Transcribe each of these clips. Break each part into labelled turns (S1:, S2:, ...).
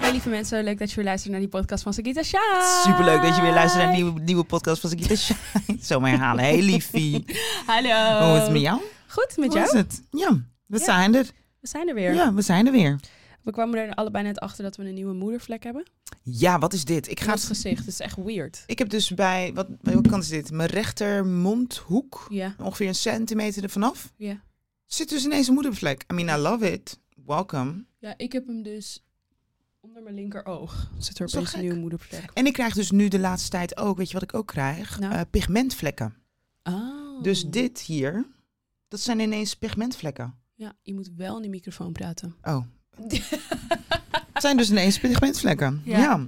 S1: Hey, lieve mensen, leuk dat je weer luistert naar die podcast van Sagita Shine.
S2: Superleuk dat je weer luistert naar een nieuwe, nieuwe podcast van Sagita Shine. Zomaar herhalen. Hey liefie.
S1: Hallo.
S2: Hoe is het met jou?
S1: Goed, met
S2: Hoe is
S1: jou?
S2: het? Ja, we
S1: Ja.
S2: zijn er.
S1: We zijn er weer.
S2: Ja, we zijn er weer.
S1: We kwamen er allebei net achter dat we een nieuwe moedervlek hebben.
S2: Ja, wat is dit? Ik,
S1: Gaat
S2: ga,
S1: het gezicht, dat is echt weird.
S2: ik heb dus bij, wat, wat kant is dit? Mijn rechtermondhoek,
S1: Ja,
S2: ongeveer een centimeter er vanaf,
S1: ja.
S2: zit dus ineens een moedervlek. I mean, I love it. Welcome.
S1: Ja, ik heb hem dus onder mijn linkeroog. Zit er
S2: Zo
S1: opeens een
S2: gek.
S1: nieuwe moedervlek.
S2: En ik krijg dus nu de laatste tijd ook, weet je wat ik ook krijg?
S1: Nou?
S2: Eh, pigmentvlekken.
S1: Oh.
S2: Dus dit hier, dat zijn ineens pigmentvlekken.
S1: Ja, je moet wel in de microfoon praten.
S2: Oh, het zijn dus ineens pigmentvlekken.
S1: Ja.
S2: ja.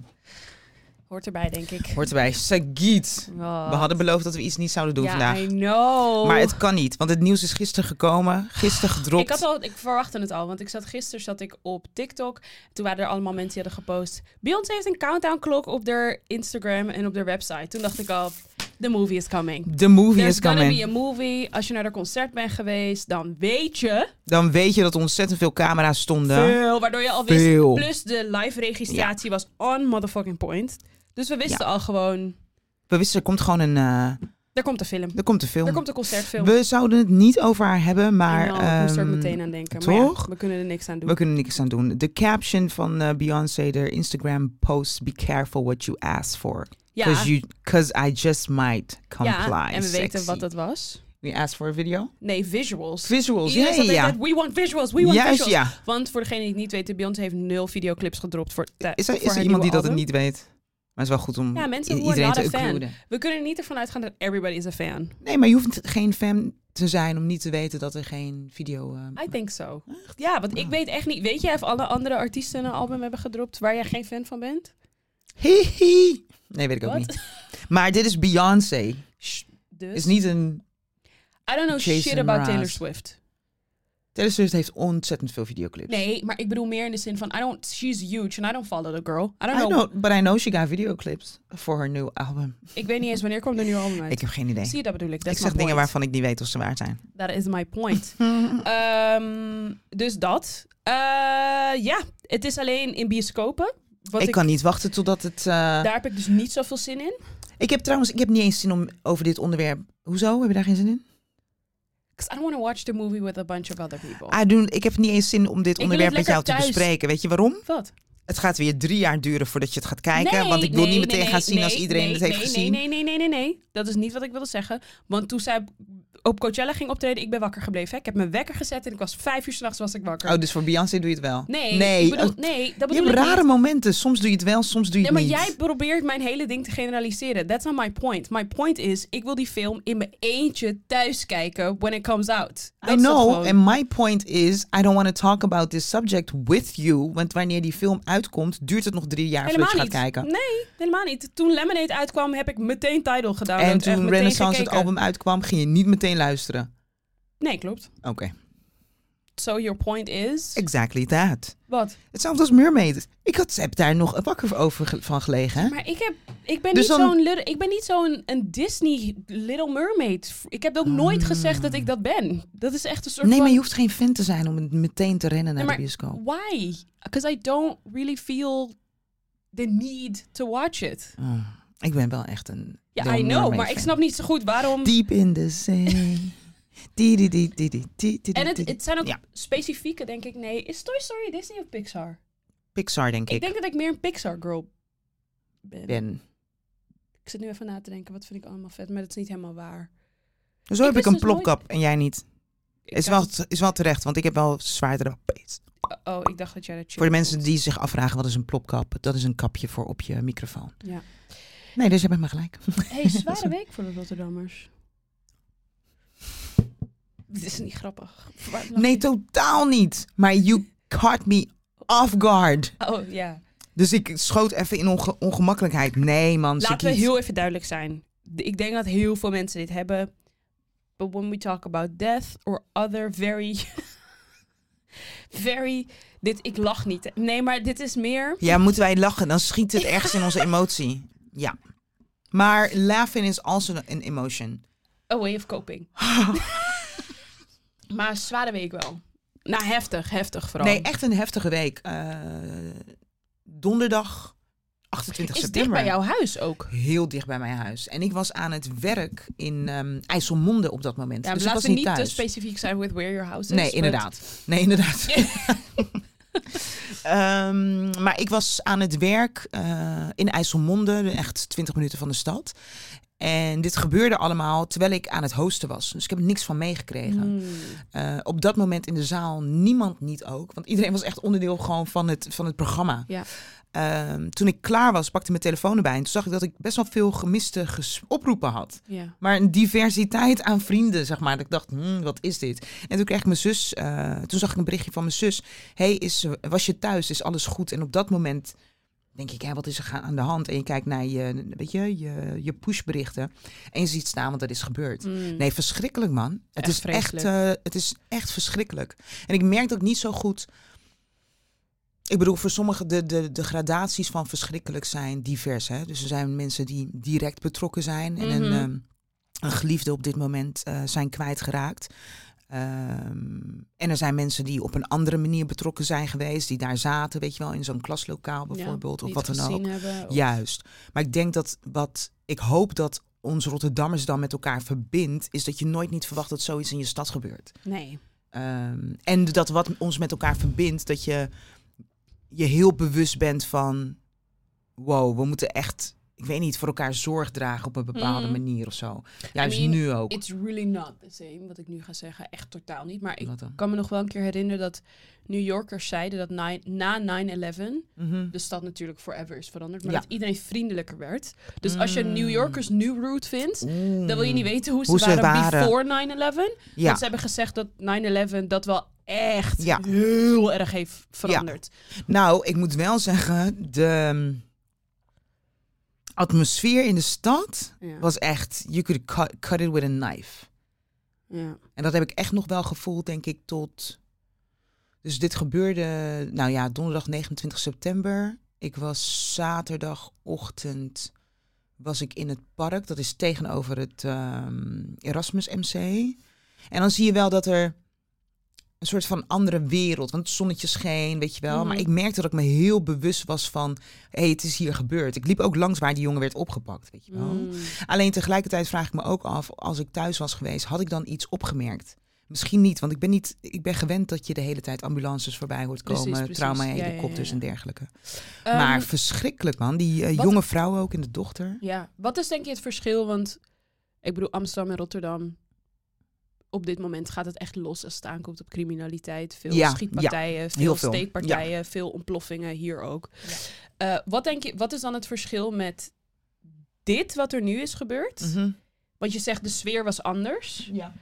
S1: Hoort erbij, denk ik.
S2: Hoort erbij, Sagiet. We hadden beloofd dat we iets niet zouden doen
S1: ja,
S2: vandaag.
S1: I know.
S2: Maar het kan niet, want het nieuws is gisteren gekomen, gisteren gedropt.
S1: Ik, had al, ik verwachtte het al, want ik zat gisteren zat ik op TikTok. Toen waren er allemaal mensen die hadden gepost. Beyoncé heeft een countdown klok op haar Instagram en op haar website. Toen dacht ik al, the movie is coming.
S2: De movie
S1: There's
S2: is
S1: gonna
S2: coming.
S1: be a movie. Als je naar haar concert bent geweest, dan weet je
S2: Dan weet je dat er ontzettend veel camera's stonden.
S1: veel. Waardoor je al wist.
S2: Veel.
S1: Plus de live registratie was on motherfucking point. Dus we wisten al gewoon,
S2: We wisten, er komt gewoon een... eh,
S1: er komt een film.
S2: er komt een film.
S1: Er komt een concertfilm.
S2: We zouden het niet over haar hebben, maar...
S1: I know, ik moest er
S2: ehm,
S1: meteen aan denken. Maar ja,
S2: toch?
S1: we kunnen er niks aan doen.
S2: we kunnen niks aan doen. De caption van eh, Beyoncé, de Instagram post... Be careful what you ask for.
S1: ja,
S2: Because I just might comply.
S1: ja, en we weten
S2: Sexy.
S1: wat dat was.
S2: We asked for a video?
S1: Nee, visuals.
S2: Visuals, ja,
S1: Iedereen zat
S2: ja,
S1: de hele
S2: ja.
S1: tijd, We want visuals, we want
S2: Juist,
S1: visuals.
S2: ja.
S1: Want voor degene die het niet weten, Beyoncé heeft nul videoclips gedropt voor tij-
S2: Is er,
S1: voor
S2: is er
S1: haar
S2: iemand die
S1: nieuwe
S2: dat het
S1: album.
S2: niet weet? Maar het is wel goed om
S1: Ja, mensen
S2: i-
S1: who are
S2: iedereen
S1: not
S2: te
S1: a fan.
S2: includen.
S1: We kunnen er niet ervan uitgaan dat everybody is a fan.
S2: Nee, maar je hoeft geen fan te zijn om niet te weten dat er geen video... eh,
S1: I think so. Ja, want
S2: Ah.
S1: ik weet echt niet. Weet je of alle andere artiesten een album hebben gedropt waar jij geen fan van bent?
S2: Hihi! Nee, weet ik ook
S1: Wat?
S2: niet. Maar dit is Beyoncé.
S1: Sh- Dus.
S2: Is niet een...
S1: I don't know
S2: Jason
S1: shit about
S2: Mraz.
S1: Taylor Swift.
S2: Taylor Swift heeft ontzettend veel videoclips.
S1: Nee, maar ik bedoel meer in de zin van I don't. She's huge and I don't follow the girl. I don't
S2: I
S1: know.
S2: know, but I know she got videoclips voor haar nieuwe album.
S1: Ik weet niet eens wanneer komt er nu album uit.
S2: Ik heb geen idee.
S1: Zie je dat bedoel ik? That's
S2: ik zeg
S1: my
S2: dingen
S1: point.
S2: waarvan ik niet weet of ze waar zijn.
S1: That is my point. Ehm, dus dat. Eh, ja, het is alleen in bioscopen. Wat
S2: ik,
S1: ik,
S2: kan niet wachten totdat het... eh,
S1: Daar heb ik dus niet zoveel zin in.
S2: Ik heb trouwens ik heb niet eens zin om over dit onderwerp... Hoezo? Heb je daar geen zin in?
S1: Because I don't want to watch the movie with a bunch of other people.
S2: Ah, doen, ik heb niet eens zin om dit
S1: wil
S2: onderwerp
S1: het
S2: met
S1: lekker
S2: jou te
S1: thuis.
S2: bespreken. Weet je waarom?
S1: Wat?
S2: Het gaat weer drie jaar duren voordat je het gaat kijken.
S1: Nee,
S2: want ik wil
S1: nee,
S2: niet meteen
S1: nee,
S2: gaan zien
S1: nee,
S2: als iedereen
S1: nee,
S2: het heeft
S1: nee,
S2: gezien.
S1: Nee, nee, nee, nee, nee, nee. Dat is niet wat ik wilde zeggen. Want toen zij op Coachella ging optreden, ik ben wakker gebleven. hè. Ik heb mijn wekker gezet en ik was vijf uur s'nachts was ik wakker.
S2: Oh, dus voor Beyoncé doe je het wel?
S1: nee,
S2: nee.
S1: Ik bedoel,
S2: oh,
S1: nee, dat
S2: je
S1: bedoel
S2: hebt
S1: ik niet.
S2: rare momenten. Soms doe je het wel, soms doe je
S1: Ja,
S2: het
S1: maar
S2: niet.
S1: jij probeert mijn hele ding te generaliseren. That's not my point. My point is, ik wil die film in mijn eentje thuis kijken when it comes out. Dat
S2: I
S1: is het
S2: know,
S1: gewoon.
S2: and my point is, I don't want to talk about this subject with you. Want wanneer die film uitkomt, duurt het nog drie jaar
S1: helemaal
S2: voordat
S1: niet.
S2: je gaat kijken.
S1: Nee, helemaal niet. Toen Lemonade uitkwam, heb ik meteen Tidal gedaan.
S2: en toen Renaissance het album uitkwam, ging je niet meteen luisteren.
S1: Nee, klopt.
S2: Oké,
S1: So your point is...
S2: exactly that.
S1: Wat?
S2: Hetzelfde als Mermaid. Ik had, heb daar nog wakker over ge- van gelegen. Hè?
S1: Maar ik, heb, ik ben
S2: Dus
S1: niet
S2: dan-
S1: zo'n little- ik ben niet zo'n een Disney Little Mermaid. Ik heb ook nooit gezegd dat ik dat ben. Dat is echt een soort
S2: Ah. Nee,
S1: van...
S2: maar je hoeft geen fan te zijn om meteen te rennen naar
S1: Nee,
S2: de bioscoop.
S1: Why? Because I don't really feel the need to watch it.
S2: Oh, ik ben wel echt een.
S1: Ja,
S2: Little
S1: I know,
S2: Mermaid
S1: maar ik
S2: fan.
S1: snap niet zo goed waarom.
S2: Deep in the sea. Die, die, die, die, die, die, die,
S1: en het,
S2: die, die.
S1: het zijn ook
S2: Ja.
S1: specifieke, denk ik. Nee, is Toy Story Disney of Pixar?
S2: Pixar, denk
S1: Ik,
S2: ik.
S1: denk dat ik meer een Pixar girl ben.
S2: ben.
S1: Ik zit nu even na te denken, wat vind ik allemaal vet, maar dat is niet helemaal waar.
S2: Zo
S1: Ik
S2: heb
S1: wist
S2: ik een
S1: dus nooit-
S2: plopkap en jij niet.
S1: Ik
S2: Is wel,
S1: dacht-
S2: is wel terecht, want ik heb wel zwaardere pees.
S1: Oh, ik dacht dat jij dat
S2: Voor de mensen die zich afvragen wat is een plopkap, dat is een kapje voor op je microfoon.
S1: Ja.
S2: Nee, dus je bent maar gelijk.
S1: hey, zware week voor de Rotterdammers. Dit is niet grappig. Waar-
S2: Nee, totaal niet. Maar you caught me off guard.
S1: Oh, ja.
S2: Dus ik schoot even in onge- ongemakkelijkheid. Nee, man.
S1: Laten we
S2: Sakiet.
S1: heel even duidelijk zijn. D- Ik denk dat heel veel mensen dit hebben. But when we talk about death or other very... very... Dit, ik lach niet. Nee, maar dit is meer...
S2: Ja, moeten wij lachen? Dan schiet het ergens in onze emotie. Ja. Maar laughing is also an emotion.
S1: A way of coping. maar zware week wel. Nou, heftig, heftig vooral.
S2: Nee, echt een heftige week. Eh, donderdag 28
S1: is dicht
S2: september. Dus
S1: bij jouw huis ook.
S2: Heel dicht bij mijn huis. En ik was aan het werk in ehm IJsselmonde op dat moment.
S1: Ja,
S2: dus
S1: maar
S2: ik
S1: laten
S2: was
S1: we
S2: niet
S1: niet
S2: thuis.
S1: te specifiek zijn with where your house is.
S2: Nee,
S1: but-
S2: inderdaad. Nee, inderdaad. Ehm, maar ik was aan het werk eh, in IJsselmonde, echt 20 minuten van de stad. En dit gebeurde allemaal terwijl ik aan het hosten was. Dus ik heb er niks van meegekregen.
S1: Hmm.
S2: Eh, op dat moment in de zaal niemand niet ook. Want iedereen was echt onderdeel gewoon van het, van het programma.
S1: Ja.
S2: Ehm, toen ik klaar was, pakte mijn telefoon erbij. En toen zag ik dat ik best wel veel gemiste ges- oproepen had.
S1: Ja.
S2: Maar een diversiteit aan vrienden, zeg maar. Dat ik dacht, hmm, wat is dit? En toen kreeg ik mijn zus, eh, toen zag ik een berichtje van mijn zus. hey, is, was je thuis? Is alles goed? En op dat moment denk ik, hé, wat is er ga- aan de hand? En je kijkt naar je, weet je, je, je pushberichten. En je ziet staan, want dat is gebeurd.
S1: Hmm.
S2: Nee, verschrikkelijk man. Het
S1: Echt
S2: is echt, eh, het is echt verschrikkelijk. En ik merk dat ik niet zo goed. Ik bedoel, voor sommigen de, de, de gradaties van verschrikkelijk zijn divers. Hè? Dus er zijn mensen die direct betrokken zijn en een,
S1: Mhm.
S2: ehm, een geliefde op dit moment eh, zijn kwijtgeraakt. Ehm, en er zijn mensen die op een andere manier betrokken zijn geweest, die daar zaten, weet je wel, in zo'n klaslokaal
S1: Ja,
S2: bijvoorbeeld,
S1: die
S2: of
S1: het
S2: wat dan ook.
S1: gezien hebben, of-
S2: Juist. Maar ik denk dat wat ik hoop dat ons Rotterdammers dan met elkaar verbindt, is dat je nooit niet verwacht dat zoiets in je stad gebeurt.
S1: Nee.
S2: Ehm, en dat wat ons met elkaar verbindt, dat je je heel bewust bent van, wow, we moeten echt, ik weet niet, voor elkaar zorg dragen op een bepaalde
S1: Mm.
S2: manier of zo. Juist
S1: mean,
S2: nu ook.
S1: It's really not the same, wat ik nu ga zeggen. Echt totaal niet. Maar ik
S2: Wat dan?
S1: kan me nog wel een keer herinneren dat New Yorkers zeiden dat ni- na 9-11
S2: Mhm.
S1: de stad natuurlijk forever is veranderd. Maar
S2: Ja.
S1: dat iedereen vriendelijker werd. Dus als je
S2: Mm.
S1: New Yorkers nu rude vindt,
S2: Oeh.
S1: dan Dus wil je niet weten hoe ze,
S2: Hoe ze
S1: waren,
S2: waren.
S1: before 9-11.
S2: Ja.
S1: Want ze hebben gezegd dat 9-11 dat wel echt
S2: Ja.
S1: heel erg heeft veranderd.
S2: Nou, ik moet wel zeggen, de mm, atmosfeer in de stad
S1: Ja.
S2: was echt, you could cut, cut it with a knife.
S1: Ja.
S2: En dat heb ik echt nog wel gevoeld, denk ik, tot... Dus dit gebeurde, nou ja, donderdag 29 september. Ik was zaterdagochtend was ik in het park. Dat is tegenover het ehm, Erasmus MC. En dan zie je wel dat er een soort van andere wereld... Want het zonnetje scheen, weet je wel.
S1: Mhm.
S2: Maar ik merkte dat ik me heel bewust was van... Hé, hey, het is hier gebeurd. Ik liep ook langs waar die jongen werd opgepakt, weet je wel.
S1: Mm.
S2: Alleen tegelijkertijd vraag ik me ook af, als ik thuis was geweest, had ik dan iets opgemerkt? Misschien niet, want ik ben, niet, ik ben gewend dat je de hele tijd ambulances voorbij hoort komen,
S1: Precies, precies.
S2: trauma-helikopters
S1: Ja, ja, ja, ja.
S2: en dergelijke.
S1: Ehm,
S2: maar verschrikkelijk man, die eh,
S1: wat-
S2: jonge vrouw ook en de dochter.
S1: Ja, wat is denk je het verschil? Want ik bedoel, Amsterdam en Rotterdam. Op dit moment gaat het echt los als het aankomt op criminaliteit. Veel
S2: Ja,
S1: schietpartijen, veel,
S2: heel veel.
S1: steekpartijen, veel ontploffingen hier ook. Eh, wat denk je, wat is dan het verschil met dit wat er nu is gebeurd?
S2: Mhm.
S1: Want je zegt de sfeer was anders.
S2: Ja.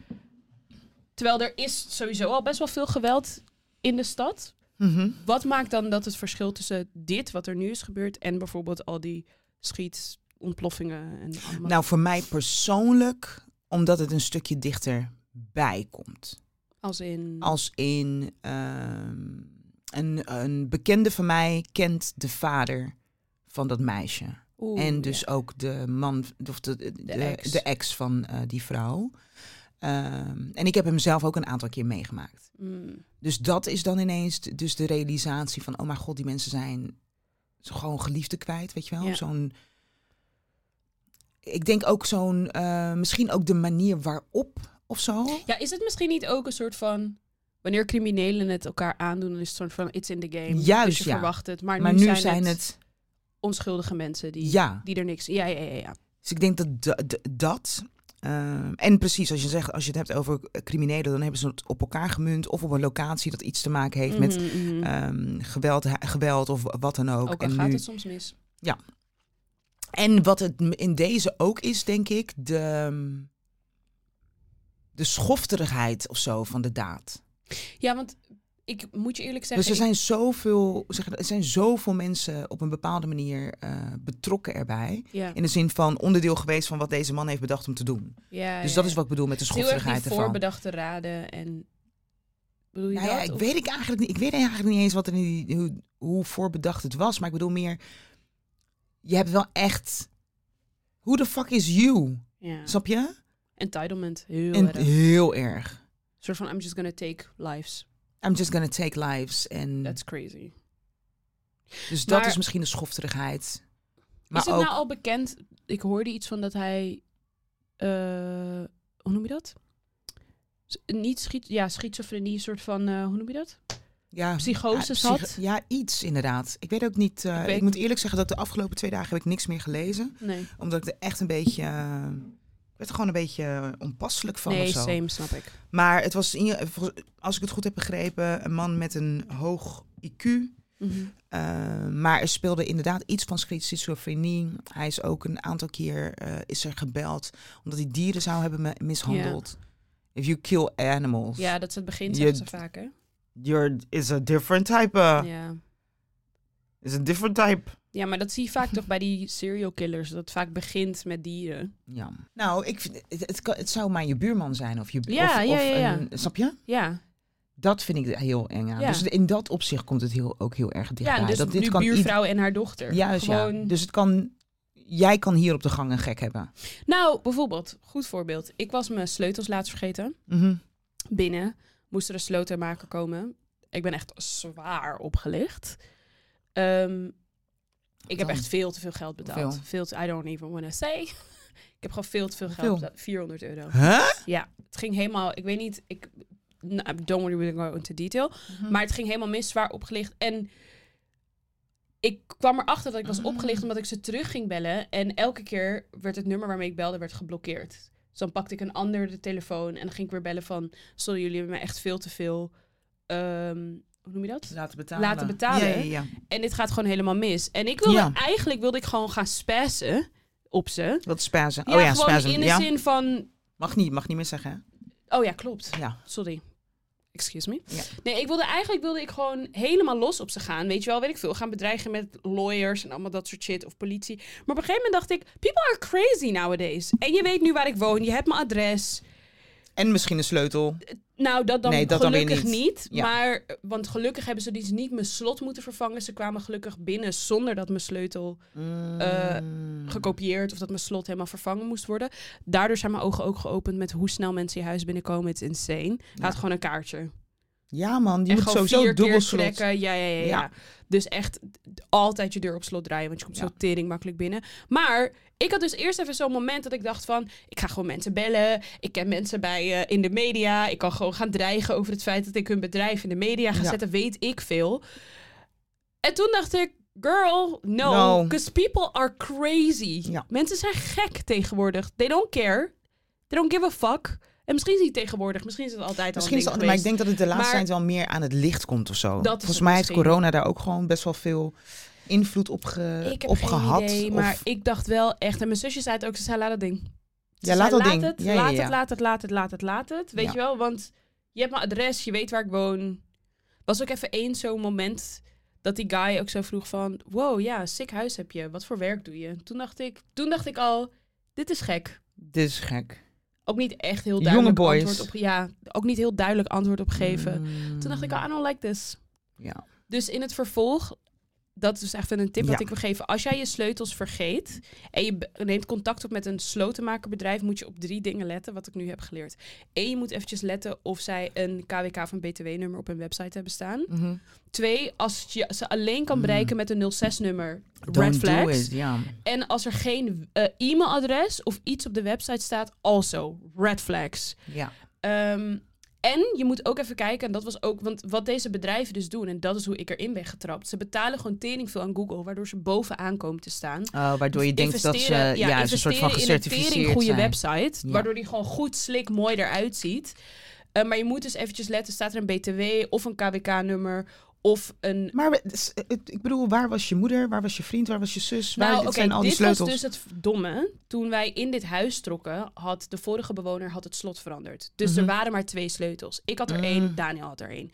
S1: Terwijl er is sowieso al best wel veel geweld in de stad.
S2: Mhm.
S1: Wat maakt dan dat het verschil tussen dit wat er nu is gebeurd en bijvoorbeeld al die schiet, ontploffingen en allemaal.
S2: Nou, voor mij persoonlijk, omdat het een stukje dichterbij komt.
S1: Als in.
S2: Als in ehm, een, een bekende van mij kent de vader van dat meisje.
S1: Oeh,
S2: en
S1: ja.
S2: dus ook de man, of de, de, de-
S1: ex.
S2: de ex van eh, die vrouw. Ehm, en ik heb hem zelf ook een aantal keer meegemaakt.
S1: Mm,
S2: Dus dat is dan ineens t- dus de realisatie van... oh mijn god, die mensen zijn zo gewoon geliefde kwijt, weet je wel?
S1: Ja.
S2: Zo'n... Ik denk ook zo'n... eh, misschien ook de manier waarop of zo.
S1: Ja, is het misschien niet ook een soort van. Wanneer criminelen het elkaar aandoen, dan is het soort van it's in the game.
S2: Juist,
S1: dus je
S2: ja.
S1: verwacht het. Maar,
S2: Maar nu zijn, het...
S1: onschuldige mensen die,
S2: Ja.
S1: die er niks. Ja, ja, ja. ja.
S2: Dus ik denk dat da- d- dat. ehm, en precies, als je, zegt, als je het hebt over eh, criminelen, dan hebben ze het op elkaar gemunt. Of op een locatie dat iets te maken heeft met
S1: Mhm, mhm.
S2: ehm, geweld, ha- geweld of wat dan ook.
S1: ook al
S2: en,
S1: gaat
S2: nu-
S1: het soms mis.
S2: en wat het m- in deze ook is, denk ik, de, ehm, de schofterigheid of zo van de daad.
S1: Ja, want ik moet je eerlijk zeggen.
S2: Dus er
S1: ik-
S2: zijn, zoveel, zeg, er zijn zoveel mensen op een bepaalde manier eh, betrokken erbij.
S1: ja,
S2: In de zin van onderdeel geweest van wat deze man heeft bedacht om te doen.
S1: ja, Oh
S2: Dus
S1: ja,
S2: dat
S1: ja.
S2: is wat ik bedoel met de
S1: Het is heel erg die
S2: schofterigheid ervan.
S1: voorbedachte raden en. Bedoel je
S2: Nou ja,
S1: dat?
S2: ik
S1: Of-
S2: weet ik eigenlijk niet. Ik weet eigenlijk niet eens wat er in die, hoe, hoe voorbedacht het was. Maar ik bedoel meer, je hebt wel echt. Who the fuck is you?
S1: ja.
S2: Snap je?
S1: Entitlement, heel
S2: en
S1: erg. Een
S2: heel erg.
S1: soort van I'm just gonna take lives.
S2: I'm just gonna take lives. En
S1: That's crazy.
S2: dus dat
S1: maar-
S2: is misschien de schofterigheid. Maar
S1: is het
S2: ook,
S1: nou al bekend? Ik hoorde iets van dat hij. eh, hoe noem je dat? S- Niet schiet, ja, schizofrenie, soort van. eh, hoe noem je dat?
S2: ja,
S1: psychoses
S2: ja, psych-
S1: had?
S2: Ja, iets inderdaad. Ik weet ook niet. eh,
S1: Ik
S2: ik,
S1: weet-
S2: moet eerlijk zeggen dat de afgelopen twee dagen heb ik niks meer gelezen.
S1: Nee.
S2: Omdat ik er echt een beetje. eh, ik werd er gewoon een beetje eh, onpasselijk van.
S1: nee,
S2: of zo.
S1: same, snap ik.
S2: Maar het was, in je- volgens- als ik het goed heb begrepen, een man met een hoog IQ.
S1: Mhm.
S2: Eh, maar er speelde inderdaad iets van schizofrenie. Hij is ook een aantal keer eh, is er gebeld omdat hij dieren zou hebben me- mishandeld. If you kill animals,
S1: Ja, dat is het begin,
S2: Je-
S1: zeggen ze vaak, hè?
S2: you're is a different type. eh,
S1: Ja.
S2: Is a different type.
S1: ja, maar dat zie je vaak toch bij die serial killers. Dat het vaak begint met eh, dieren.
S2: Ja. Nou, ik vind, het, het, kan- het zou maar je buurman zijn of je bu-
S1: Ja,
S2: of,
S1: ja,
S2: of
S1: ja, ja.
S2: Een, snap je?
S1: Ja,
S2: Dat vind ik heel eng aan.
S1: Ja.
S2: Dus in dat opzicht komt het heel, ook heel erg dichtbij.
S1: ja dus
S2: dat
S1: nu
S2: ied-
S1: buurvrouw en haar dochter.
S2: Juist,
S1: Gewoon...
S2: ja. Dus het kan, jij kan hier op de gang een gek hebben.
S1: Nou, bijvoorbeeld, goed voorbeeld. Ik was mijn sleutels laatst vergeten.
S2: Mhm.
S1: binnen. Moest er een slotenmaker komen. Ik ben echt zwaar opgelicht. Ehm, ik heb
S2: dan?
S1: echt veel te veel geld betaald.
S2: Hoeveel?
S1: Veel te- I don't even want to say. ik heb gewoon veel te veel geld
S2: Hoeveel?
S1: betaald. 400 euro.
S2: Huh?
S1: Ja, het ging helemaal... Ik weet niet... Ik, nou, don't worry, we don't go into detail. Mhm.
S2: Mm.
S1: Maar het ging helemaal mis, zwaar opgelicht. En ik kwam erachter dat ik
S2: Ah.
S1: was opgelicht omdat ik ze terug ging bellen. En elke keer werd het nummer waarmee ik belde werd geblokkeerd. Dus dan pakte ik een ander de telefoon en dan ging ik weer bellen van... Sorry, jullie hebben me echt veel te veel... ehm, hoe noem je dat?
S2: Laten betalen.
S1: Laten betalen.
S2: Ja, ja, ja.
S1: En dit gaat gewoon helemaal mis. En ik wilde
S2: Ja.
S1: eigenlijk wilde ik gewoon gaan spassen op ze.
S2: Wat spazen.
S1: Ja,
S2: oh ja,
S1: gewoon
S2: spazen.
S1: in de
S2: Ja.
S1: zin van...
S2: Mag niet, mag niet meer zeggen. hè?
S1: Oh ja, klopt.
S2: Ja.
S1: Sorry. Excuse me.
S2: Ja.
S1: Nee, ik wilde eigenlijk wilde ik gewoon helemaal los op ze gaan. Weet je wel, weet ik veel. Gaan bedreigen met lawyers en allemaal dat soort shit. Of politie. Maar op een gegeven moment dacht ik, people are crazy nowadays. En je weet nu waar ik woon. Je hebt mijn adres.
S2: En misschien een sleutel.
S1: Nou, dat dan
S2: Nee, dat dan weer
S1: gelukkig
S2: niet.
S1: niet.
S2: Ja.
S1: Maar, want gelukkig hebben ze dus niet mijn slot moeten vervangen. Ze kwamen gelukkig binnen zonder dat mijn sleutel
S2: Mhm.
S1: Eh,
S2: Mm.
S1: gekopieerd of dat mijn slot helemaal vervangen moest worden. Daardoor zijn mijn ogen ook geopend met hoe snel mensen je huis binnenkomen. Het is insane. Laat
S2: Ja.
S1: gewoon een kaartje.
S2: ja man, die
S1: en
S2: moet
S1: gewoon
S2: sowieso
S1: vier
S2: dubbel
S1: keer
S2: slot.
S1: trekken. Ja, ja, ja, ja.
S2: Ja.
S1: Dus echt d- altijd je deur op slot draaien, want je komt
S2: Ja.
S1: zo tering makkelijk binnen. Maar ik had dus eerst even zo'n moment dat ik dacht van, ik ga gewoon mensen bellen. Ik ken mensen bij eh, in de media. Ik kan gewoon gaan dreigen over het feit dat ik hun bedrijf in de media ga
S2: Ja.
S1: zetten, weet ik veel. En toen dacht ik, girl, no,
S2: No.
S1: because people are crazy.
S2: Ja.
S1: Mensen zijn gek tegenwoordig. They don't care. They don't give a fuck. En misschien is het niet tegenwoordig, misschien is het altijd
S2: Misschien is
S1: al een
S2: dat,
S1: ding
S2: maar ik
S1: geweest.
S2: denk dat het de laatste
S1: Maar-
S2: tijd wel meer aan het licht komt of zo.
S1: is het
S2: Volgens mij heeft
S1: misschien.
S2: corona daar ook gewoon best wel veel invloed op, ge,
S1: Ik heb
S2: eh, op
S1: geen
S2: gehad.
S1: idee,
S2: Of-
S1: maar ik dacht wel echt. En mijn zusje zei het ook. Ze zei, laat dat ding. Ze
S2: ja,
S1: zei,
S2: laat dat ding.
S1: Het,
S2: ja,
S1: laat
S2: ja, ja.
S1: het, laat het, laat het, laat het, laat het. Weet
S2: Ja.
S1: je wel? Want je hebt mijn adres, je weet waar ik woon. Was ook even één zo'n moment dat die guy ook zo vroeg van... Wow, ja, sick huis heb je. Wat voor werk doe je? Toen dacht ik, toen dacht ik al, dit is gek.
S2: Dit is gek.
S1: Ook niet echt heel
S2: Jonge
S1: duidelijk
S2: boys.
S1: antwoord op... Ja, ook niet heel duidelijk antwoord op geven.
S2: Mm.
S1: Toen dacht ik al, I don't like this.
S2: Ja.
S1: Dus in het vervolg, dat is dus echt een tip
S2: Ja.
S1: dat ik wil geven. Als jij je sleutels vergeet en je be- neemt contact op met een slotenmakerbedrijf, moet je op drie dingen letten, wat ik nu heb geleerd. Eén, je moet eventjes letten of zij een KWK of een BTW-nummer op hun website hebben staan.
S2: Mhm. Mm.
S1: Twee, als je ze alleen kan bereiken met een 06-nummer,
S2: Don't
S1: red
S2: do
S1: flags.
S2: it, ja.
S1: En als er geen eh, e-mailadres of iets op de website staat, also red flags.
S2: ja.
S1: Ehm, en je moet ook even kijken, en dat was ook, want wat deze bedrijven dus doen, en dat is hoe ik erin ben getrapt. Ze betalen gewoon tering veel aan Google, waardoor ze bovenaan komen te staan.
S2: Oh, waardoor je denkt dat ze
S1: Dus Investeren-
S2: ja, is een soort
S1: investeren
S2: van
S1: in een
S2: gecertificeerd
S1: tering goede
S2: zijn.
S1: website,
S2: Ja.
S1: waardoor die gewoon goed, slik, mooi eruit ziet. Eh, maar je moet dus eventjes letten, staat er een BTW of een KWK-nummer of een...
S2: Maar we- s- het- ik bedoel, waar was je moeder? Waar was je vriend? Waar was je zus? waar
S1: Nou,
S2: het
S1: oké,
S2: zijn al die
S1: dit
S2: sleutels?
S1: was dus het domme. Toen wij in dit huis trokken, had de vorige bewoner had het slot veranderd. Dus
S2: Mhm.
S1: er waren maar twee sleutels. Ik had er
S2: Mm.
S1: één, Daniel had er één.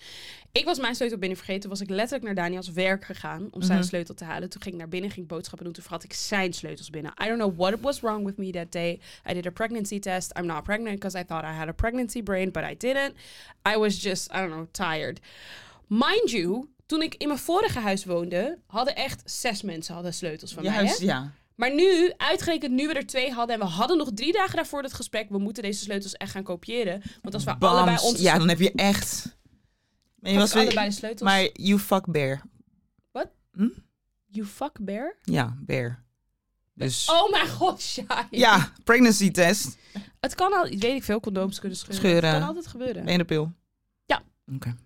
S1: Ik was mijn sleutel binnen vergeten. Was ik letterlijk naar Daniels werk gegaan om zijn
S2: Mhm.
S1: sleutel te halen. Toen ging ik naar binnen, ging ik boodschappen doen. Toen had ik zijn sleutels binnen. I don't know what was wrong with me that day. I did a pregnancy test. I'm not pregnant because I thought I had a pregnancy brain, but I didn't. I was just, I don't know, tired. Mind you, toen ik in mijn vorige huis woonde, hadden echt zes mensen hadden sleutels van mij. hè?
S2: Juist, ja.
S1: Maar nu, uitgerekend nu we er twee hadden en we hadden nog drie dagen daarvoor dat gesprek, we moeten deze sleutels echt gaan kopiëren. Want als we
S2: Bams.
S1: allebei onze
S2: Ja, dan heb je echt... Maar je
S1: Pak
S2: was
S1: ik
S2: weer-
S1: allebei de sleutels.
S2: maar you fuck bear.
S1: You fuck bear?
S2: Ja, bear. Dus
S1: Oh mijn god, Shai.
S2: ja, pregnancy test.
S1: Het kan al, weet ik veel, condooms kunnen scheuren.
S2: Scheuren.
S1: Het kan altijd gebeuren.
S2: Ben je de pil?
S1: Ja.
S2: Oké.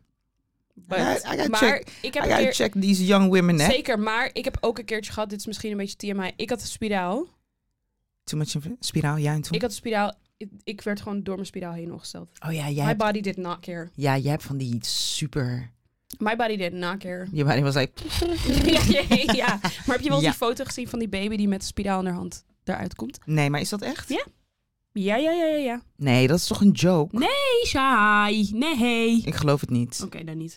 S1: But-
S2: I gotta- I gotta
S1: maar ik
S2: check- I
S1: heb een
S2: gotta
S1: keer,
S2: check these young women, hè?
S1: zeker, maar ik heb ook een keertje gehad, dit is misschien een beetje TMI, ik had een spiraal.
S2: Too much inf- spiraal, ja en toen.
S1: Ik had een spiraal, ik, ik werd gewoon door mijn spiraal heen opgesteld.
S2: Oh ja, jij
S1: My
S2: hebt,
S1: body did not care.
S2: ja, jij hebt van die super...
S1: My body did not care.
S2: Je body was like...
S1: ja, ja, ja. maar heb je wel eens
S2: Ja.
S1: die foto gezien van die baby die met de spiraal in haar hand eruit komt?
S2: Nee, maar is dat echt?
S1: Ja. Ja, ja, ja, ja, ja.
S2: Nee, dat is toch een joke?
S1: Nee, Shai. Nee. Oké,
S2: Ik geloof het niet.
S1: dan niet.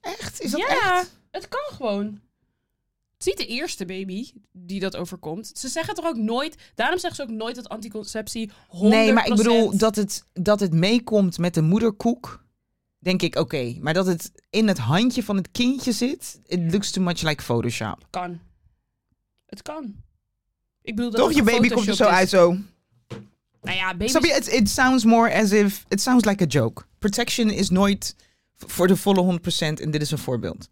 S2: Echt? Is dat
S1: ja,
S2: echt?
S1: het kan gewoon. Het is niet de eerste baby die dat overkomt. Ze zeggen toch ook nooit... Daarom zeggen ze ook nooit dat anticonceptie 100%...
S2: Nee, maar ik bedoel dat het, dat het meekomt met de moederkoek. Denk ik, oké. Maar dat het in het handje van het kindje zit. It looks too much like Photoshop.
S1: Kan. Het kan. Ik bedoel dat
S2: Toch?
S1: het
S2: Je baby komt er zo
S1: gefotoshopt
S2: uit
S1: is.
S2: zo.
S1: Nou ja, baby's...
S2: Snap je? It, it sounds more as if... It sounds like a joke. Protection is nooit v- voor de volle 100%. En dit is een voorbeeld.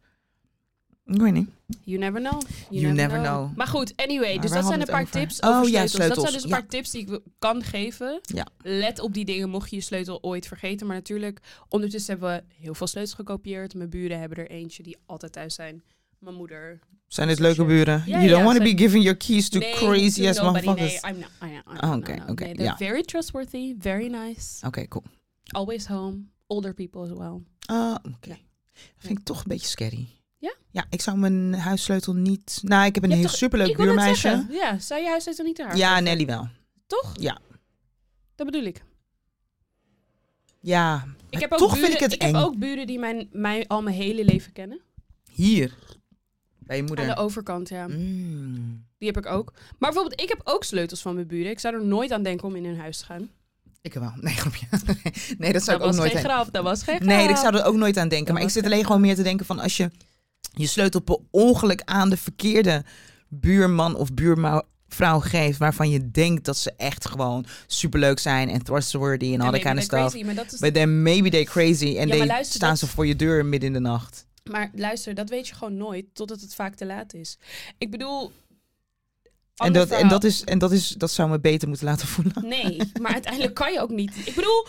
S2: Ik weet niet.
S1: You never know.
S2: You never know.
S1: Maar goed, anyway.
S2: Maar
S1: dus
S2: waar
S1: dat zijn een
S2: hadden
S1: paar
S2: we het
S1: tips
S2: over?
S1: over
S2: Oh ja,
S1: sleutels. Dat zijn dus
S2: sleutels,
S1: een
S2: ja.
S1: paar tips die ik wil- kan geven.
S2: Ja.
S1: Let op die dingen mocht je je sleutel ooit vergeten. Maar natuurlijk, ondertussen hebben we heel veel sleutels gekopieerd. Mijn buren hebben er eentje die altijd thuis zijn. Mijn moeder.
S2: Zijn dit leuke buren?
S1: Ja,
S2: you don't
S1: ja,
S2: want to
S1: zijn-
S2: be giving your keys to
S1: Nee,
S2: crazy
S1: to
S2: ass
S1: nobody.
S2: motherfuckers.
S1: Nee, I'm not. I am- I'm
S2: Ah,
S1: not,
S2: oké,
S1: no, no.
S2: oké,
S1: Nee, they're
S2: ja.
S1: Very trustworthy, very nice.
S2: Oké, cool.
S1: Always home. Older people as well.
S2: Ah, oké.
S1: Ja.
S2: Dat vind ik toch een beetje scary.
S1: Ja?
S2: Ja, ik zou mijn huissleutel niet... Nou, ik heb een
S1: Je hebt
S2: heel
S1: toch-
S2: superleuk
S1: ik wil net
S2: buurmeisje.
S1: zeggen, Ja, zou je huissleutel niet te haar?
S2: Ja, Nelly wel.
S1: Toch?
S2: Ja.
S1: Dat bedoel ik.
S2: Ja,
S1: Ik
S2: maar
S1: heb ook
S2: toch
S1: buren,
S2: vind ik het eng.
S1: heb ook buren die mijn, mij al mijn hele leven kennen.
S2: Hier. Bij je
S1: Aan de
S2: moeder.
S1: overkant, ja.
S2: Mm.
S1: Die heb ik ook. Maar bijvoorbeeld, ik heb ook sleutels van mijn buren. Ik zou er nooit aan denken om in hun huis te gaan.
S2: Ik wel. Nee, grapje. Nee,
S1: Dat
S2: dat zou ik ook
S1: Nou, was
S2: nooit
S1: geen
S2: aan-
S1: grap, dat was geen grap.
S2: Nee, ik zou er Nou, ook nooit aan denken.
S1: Dat
S2: maar ik
S1: was
S2: zit
S1: geen
S2: alleen gewoon meer te denken van als je je sleutel per ongeluk aan de verkeerde buurman of buurvrouw geeft, waarvan je denkt dat ze echt gewoon superleuk zijn en trustworthy en
S1: Ja,
S2: all that
S1: nee,
S2: kind of
S1: maar dat
S2: stuff.
S1: crazy, maar, dat is-
S2: But then maybe they're crazy en
S1: maar
S2: they
S1: luister,
S2: staan
S1: dat-
S2: ze voor je deur midden in de nacht.
S1: maar luister, dat weet je gewoon nooit, totdat het vaak te laat is. Ik bedoel...
S2: En,
S1: ander
S2: dat, en,
S1: verhaal.
S2: dat, is, en dat, is, dat zou me beter moeten laten voelen.
S1: Nee, maar uiteindelijk kan je ook niet. Ik bedoel,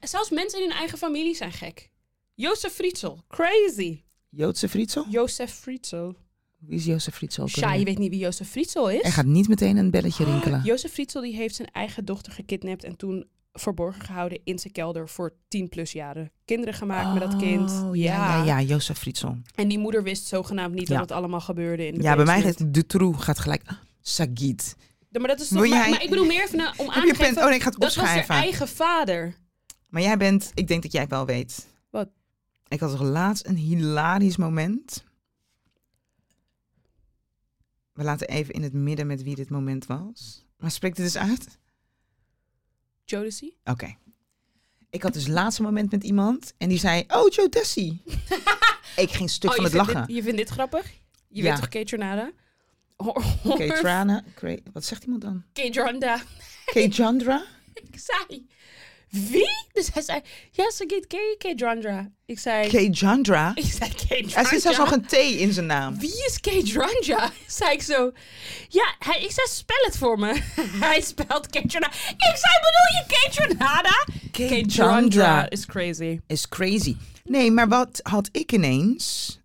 S1: zelfs mensen in hun eigen familie zijn gek. Jozef Frietsel, crazy.
S2: Joodse Frietsel?
S1: Jozef Frietsel.
S2: Wie is Jozef Frietsel? ook
S1: Sja,
S2: alweer?
S1: je weet Oh, niet wie Jozef Frietsel is.
S2: Hij gaat niet meteen een belletje rinkelen.
S1: Jozef Frietsel die heeft zijn eigen dochter gekidnapt en toen verborgen gehouden in zijn kelder voor 10 plus jaren. Kinderen gemaakt met dat kind.
S2: Oh, ja, ja, ja, Jozef Frietsel.
S1: En die moeder wist zogenaamd niet
S2: Ja.
S1: dat het allemaal gebeurde in de
S2: Ja, bij mij
S1: basement.
S2: gaat de troe gaat gelijk. ah, Sagit.
S1: Ja, Maar dat is toch...
S2: Wil
S1: Maar,
S2: jij-
S1: maar ik bedoel meer even eh, om aan
S2: Heb je
S1: te
S2: pen?
S1: geven...
S2: Oh nee, ik ga het
S1: dat was haar
S2: opschrijven.
S1: eigen vader.
S2: Maar jij bent, ik denk dat jij het wel weet.
S1: Wat?
S2: Ik had toch laatst een hilarisch moment. We laten even in het midden met wie dit moment was. Maar spreek dit eens uit.
S1: Jodeci?
S2: Oké. Ik had dus laatst een moment met iemand en die zei, oh Joe Tessie. ik ging stuk
S1: Oh,
S2: van
S1: je
S2: het
S1: vindt
S2: lachen.
S1: dit- je vindt dit grappig? Je
S2: Ja.
S1: weet toch Kate Jornada? Hoor-
S2: Oké,
S1: hoor-
S2: Trana. Cra- Wat zegt iemand dan?
S1: Kate Jornada.
S2: Kate Chandra?
S1: Ik zei... Wie? Dus hij zei... Ja, ze gaat Kate Kate Jornada. Ik zei...
S2: Kate Chandra?
S1: Ik zei Kate
S2: Er zit zelfs
S1: Jornada?
S2: nog een T in zijn naam.
S1: Wie is Kate Ranja? zei ik zo. Ja, hij, ik zei, spel het voor me. hij spelt Kate Ranjada. Ik zei, bedoel je Kate Ranada?
S2: Kate
S1: Ranjada
S2: Chandra.
S1: is crazy.
S2: is crazy. Nee, maar wat had ik ineens?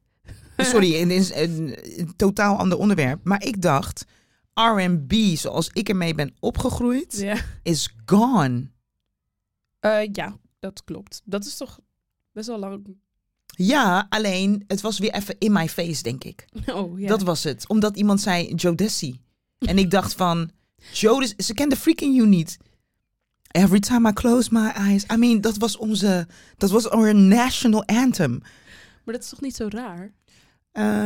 S2: Sorry, het is een, een totaal ander onderwerp. Maar ik dacht, R&B zoals ik ermee ben opgegroeid,
S1: Ja.
S2: is gone.
S1: Eh, ja, dat klopt. Dat is toch best wel lang.
S2: Ja, alleen het was weer even in my face, denk ik.
S1: Oh, ja.
S2: Dat was het. Omdat iemand zei Jodeci. En ik dacht van, Jodeci, ze kende freaking you niet. Every time I close my eyes. I mean, dat was onze, dat was our national anthem.
S1: Maar dat is toch niet zo raar?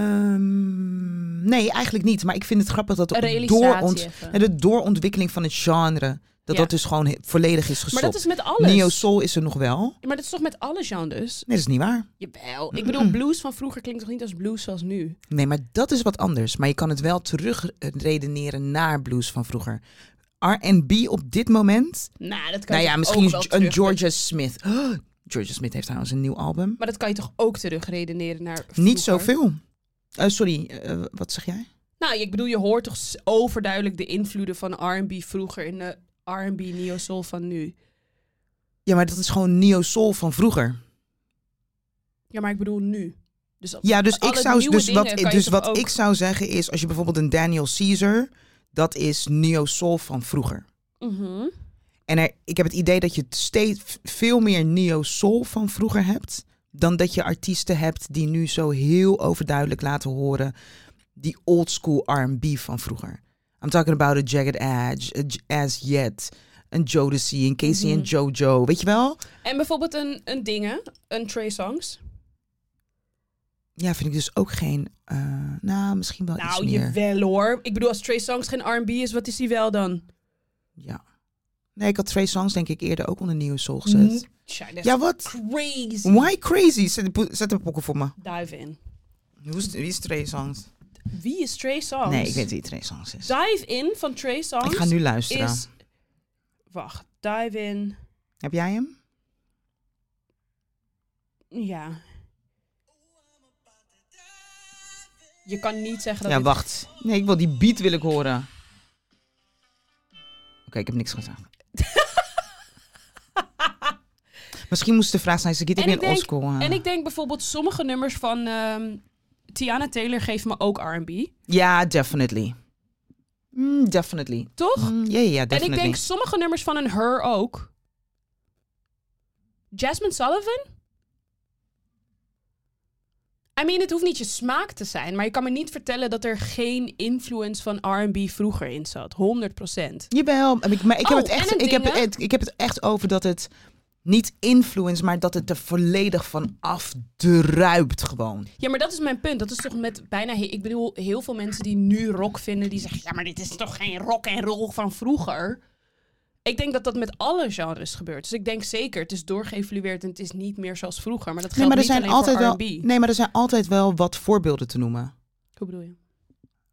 S2: Ehm, nee, eigenlijk niet. Maar ik vind het grappig dat
S1: Een
S2: de,
S1: realisatie
S2: dooront-
S1: even.
S2: de doorontwikkeling van het genre... dat
S1: Ja.
S2: dat dus gewoon he- volledig is
S1: Maar
S2: gestopt.
S1: dat is met alles.
S2: Neo-soul is er nog wel. Nee,
S1: Maar dat is toch met alle genres?
S2: dat is niet waar.
S1: Jawel. Ik bedoel, blues van vroeger klinkt toch niet als blues zoals nu?
S2: Nee, maar dat is wat anders. Maar je kan het wel terugredeneren naar blues van vroeger. R&B op dit moment...
S1: Nou, dat kan
S2: nou
S1: je
S2: ja,
S1: ook
S2: misschien
S1: wel
S2: is een
S1: terug-
S2: Georgia Smith. Oh, Georgia Smith heeft trouwens een nieuw album.
S1: Maar dat kan je toch ook terugredeneren naar vroeger?
S2: Niet zoveel. Eh sorry, eh, wat zeg jij?
S1: Nou, ik bedoel, je hoort toch s- overduidelijk de invloeden van R&B vroeger in de R&B neo-soul van nu.
S2: Ja, maar dat is gewoon Neo Soul van vroeger.
S1: Ja, maar ik bedoel nu. Dus dat-
S2: Ja, dus
S1: Alle
S2: ik zou,
S1: nieuwe
S2: dus
S1: dingen
S2: wat,
S1: kan je
S2: dus
S1: toch
S2: wat
S1: ook-
S2: ik zou zeggen is, als je bijvoorbeeld een Daniel Caesar, dat is Neo Soul van vroeger.
S1: Mhm.
S2: Mm-hmm. En er, ik heb het idee dat je het steeds v- veel meer neo-soul van vroeger hebt. Dan dat je artiesten hebt die nu zo heel overduidelijk laten horen. Die old school RB van vroeger. I'm talking about a Jagged Edge, a J- As Yet, een Jodeci, een Casey en
S1: Mhm.
S2: Jojo. Weet je wel?
S1: En bijvoorbeeld een, een dingen, een Trey Songs.
S2: Ja, vind ik dus ook geen. eh, nou, misschien wel iets
S1: Nou,
S2: meer.
S1: jawel hoor. Ik bedoel, als Trey Songs geen R&B is, wat is die wel dan?
S2: Ja. Nee, ik had twee songs denk ik eerder ook onder neo-soul gezet.
S1: Mm, tja, dat is
S2: Ja, Mm. wat?
S1: crazy.
S2: Why crazy? Zet de, po- zet de pokken voor me.
S1: Dive in.
S2: Hoe is- Wie is twee songs?
S1: Wie is Trey Songs?
S2: Nee, ik weet wie twee songs is.
S1: Dive in van Trey Songs
S2: Ik ga nu luisteren.
S1: is... Wacht, dive in.
S2: Heb jij hem?
S1: Ja. Je kan niet zeggen dat
S2: Ja,
S1: dit-
S2: wacht. Nee, ik wil die beat wil ik horen. Oké, ik heb niks gezegd. Misschien moest de vraag zijn, ze ik
S1: En
S2: weer
S1: ik
S2: in oldschool. eh.
S1: En ik denk bijvoorbeeld sommige nummers van ehm, Tiana Taylor geven me ook R&B,
S2: Ja, definitely. Mm, definitely.
S1: toch?
S2: Mm, Ja, ja, ja,
S1: en ik
S2: definitely.
S1: denk sommige nummers van een Her ook. Jasmine Sullivan? I mean, het hoeft niet je smaak te zijn, maar je kan me niet vertellen dat er geen influence van R&B vroeger in zat. 100%.
S2: Jawel, maar ik, maar ik, heb
S1: Oh,
S2: het echt,
S1: en een
S2: ik, heb
S1: ding, hè?
S2: het, ik heb het echt over dat het niet influence, maar dat het er volledig van afdruipt gewoon.
S1: Ja, maar dat is mijn punt. Dat is toch met bijna... he- Ik bedoel, heel veel mensen die nu rock vinden, die zeggen... Ja, maar dit is toch geen rock en roll van vroeger? Ik denk dat dat met alle genres gebeurt. Dus ik denk zeker, het is doorgeëvalueerd en het is niet meer zoals vroeger. Maar dat
S2: Nee
S1: geldt
S2: maar, er
S1: niet
S2: zijn
S1: alleen
S2: altijd
S1: voor
S2: wel,
S1: R&B.
S2: nee, maar er zijn altijd wel wat voorbeelden te noemen.
S1: Hoe bedoel je?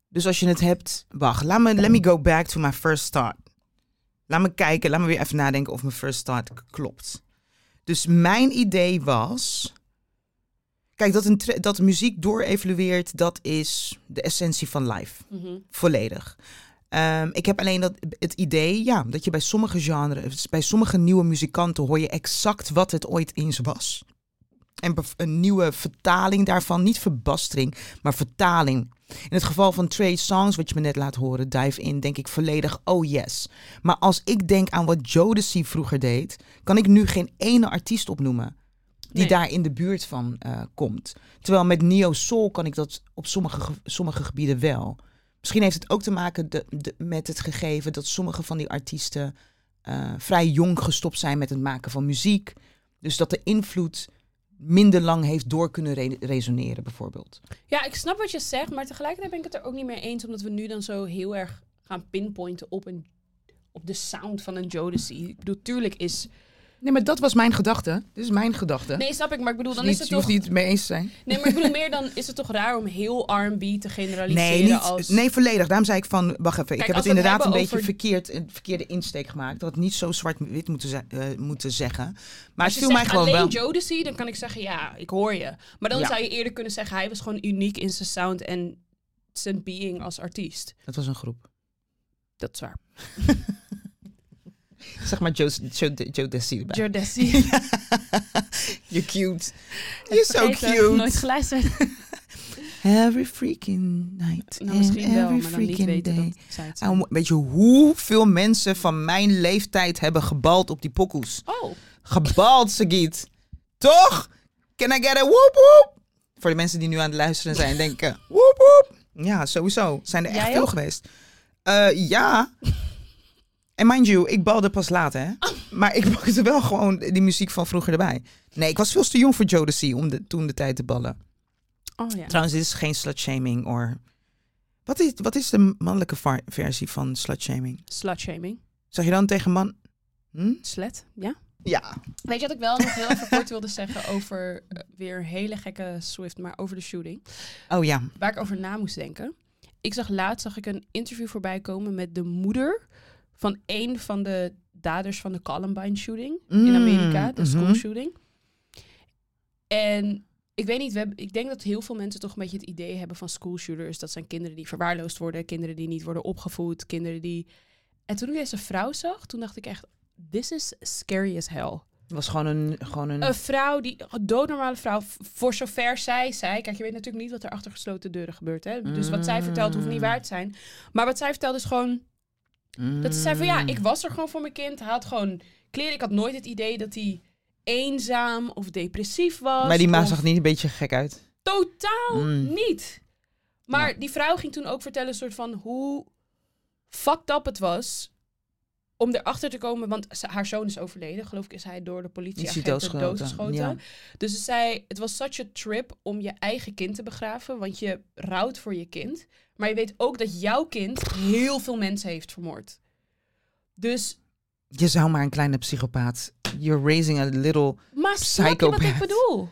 S2: Dus als je het hebt, wacht, laat me, let me go back to my first thought. Laat me kijken, laat me weer even nadenken of mijn first thought k- klopt. Dus mijn idee was, kijk, dat, een tre- dat muziek doorevalueert, dat is de essentie van live. Volledig. Ehm, ik heb alleen dat, het idee, ja, dat je bij sommige genres, bij sommige nieuwe muzikanten hoor je exact wat het ooit eens was. En bev- een nieuwe vertaling daarvan, niet verbastering, maar vertaling. In het geval van Trey Songs, wat je me net laat horen, Dive In, denk ik volledig, oh yes. Maar als ik denk aan wat Jodeci vroeger deed, kan ik nu geen ene artiest opnoemen die
S1: Nee.
S2: daar in de buurt van eh, komt. Terwijl met Neo Soul kan ik dat op sommige, ge- sommige gebieden wel. Misschien heeft het ook te maken de- de- met het gegeven dat sommige van die artiesten eh, vrij jong gestopt zijn met het maken van muziek. Dus dat de invloed minder lang heeft door kunnen re- resoneren, bijvoorbeeld.
S1: Ja, ik snap wat je zegt, maar tegelijkertijd ben ik het er ook niet mee eens, omdat we nu dan zo heel erg gaan pinpointen op, een, op de sound van een Jodeci. Ik bedoel, tuurlijk is...
S2: Nee, maar dat was mijn gedachte. Dit is mijn gedachte.
S1: Nee, snap ik, maar ik bedoel, dan is het toch...
S2: Dus niet het mee eens te zijn.
S1: Nee, maar ik bedoel meer, dan is het toch raar om heel R&B te generaliseren
S2: Nee, niet,
S1: als...
S2: nee, volledig. Daarom zei ik van, wacht even. ik
S1: als we
S2: heb het
S1: het
S2: inderdaad een
S1: hebben
S2: beetje
S1: over-
S2: verkeerd, een verkeerde insteek gemaakt. Dat het niet zo zwart-wit moeten, ze- eh, moeten zeggen. Maar
S1: Als
S2: het
S1: je
S2: viel mij
S1: zegt
S2: gewoon
S1: alleen
S2: wel.
S1: Jodeci, dan kan ik zeggen, ja, ik hoor je. Maar dan
S2: Ja.
S1: zou je eerder kunnen zeggen, hij was gewoon uniek in zijn sound en zijn being als artiest.
S2: Dat was een groep.
S1: Dat is waar.
S2: Zeg maar Joe, Joe, Joe Desi erbij.
S1: Jodeci.
S2: You're cute. You're so
S1: Vergeten, Nooit
S2: cute.
S1: geluisterd.
S2: Every freaking night.
S1: Nou, misschien
S2: and
S1: wel, maar
S2: every
S1: dan niet
S2: freaking
S1: weten
S2: day.
S1: dat zij het zijn.
S2: En weet je Nou, hoeveel mensen van mijn leeftijd hebben gebald op die pokoes?
S1: Oh,
S2: Gebald, Sagiet. Toch? Can I get a woep woep? Voor de mensen die nu aan het luisteren zijn, denken woep woep. Ja, sowieso. Zijn er echt
S1: Jij
S2: veel
S1: ook?
S2: geweest. Eh, ja. En mind you, ik balde pas later, hè. Maar ik pakte wel gewoon die muziek van vroeger erbij. Nee, ik was veel te jong voor Jodeci om de, toen de tijd te ballen.
S1: oh ja.
S2: Trouwens, dit is geen slutshaming, or... Wat is, wat is de mannelijke va- versie van slutshaming?
S1: Slutshaming.
S2: Zeg je dan tegen man... Hm?
S1: Slet, ja.
S2: Ja.
S1: Weet je wat ik wel nog heel even kort wilde zeggen over eh, weer een hele gekke Swift, maar over de shooting.
S2: Oh ja.
S1: Waar ik over na moest denken. Ik zag laatst zag ik een interview voorbij komen met de moeder van een van de daders van de Columbine shooting in Amerika, de
S2: Mm, mhm.
S1: schoolshooting. En ik weet niet, we hebben, ik denk dat heel veel mensen toch een beetje het idee hebben van schoolshooters. Dat zijn kinderen die verwaarloosd worden, kinderen die niet worden opgevoed, kinderen die... En toen ik deze vrouw zag, toen dacht ik echt, this is scary as hell.
S2: Het was gewoon een... Gewoon een
S1: Een vrouw, die een doodnormale vrouw, v- voor zover zij zei... Kijk, je weet natuurlijk niet wat er achter gesloten deuren gebeurt, hè? Dus
S2: Mm.
S1: wat zij vertelt hoeft niet waar te zijn. Maar wat zij vertelt is gewoon... Dat ze zei van
S2: Mm. Hm.
S1: ja, ik was er gewoon voor mijn kind. Hij had gewoon kleren. Ik had nooit het idee dat hij eenzaam of depressief was.
S2: Maar die ma
S1: of-
S2: zag niet een beetje gek uit.
S1: Totaal
S2: Mm.
S1: niet. Maar die vrouw ging toen ook vertellen soort van hoe fucked up het was om erachter te komen. Want ze- haar zoon is overleden. Geloof ik is hij door de politie
S2: doodgeschoten,
S1: doodgeschoten.
S2: ja.
S1: Dus ze zei, het was such a trip om je eigen kind te begraven. Want je rouwt voor je kind. Maar je weet ook dat jouw kind heel veel mensen heeft vermoord. Dus
S2: Je zou maar een kleine psychopaat. You're raising a little...
S1: Maar snap je wat ik
S2: Psychopath.
S1: bedoel?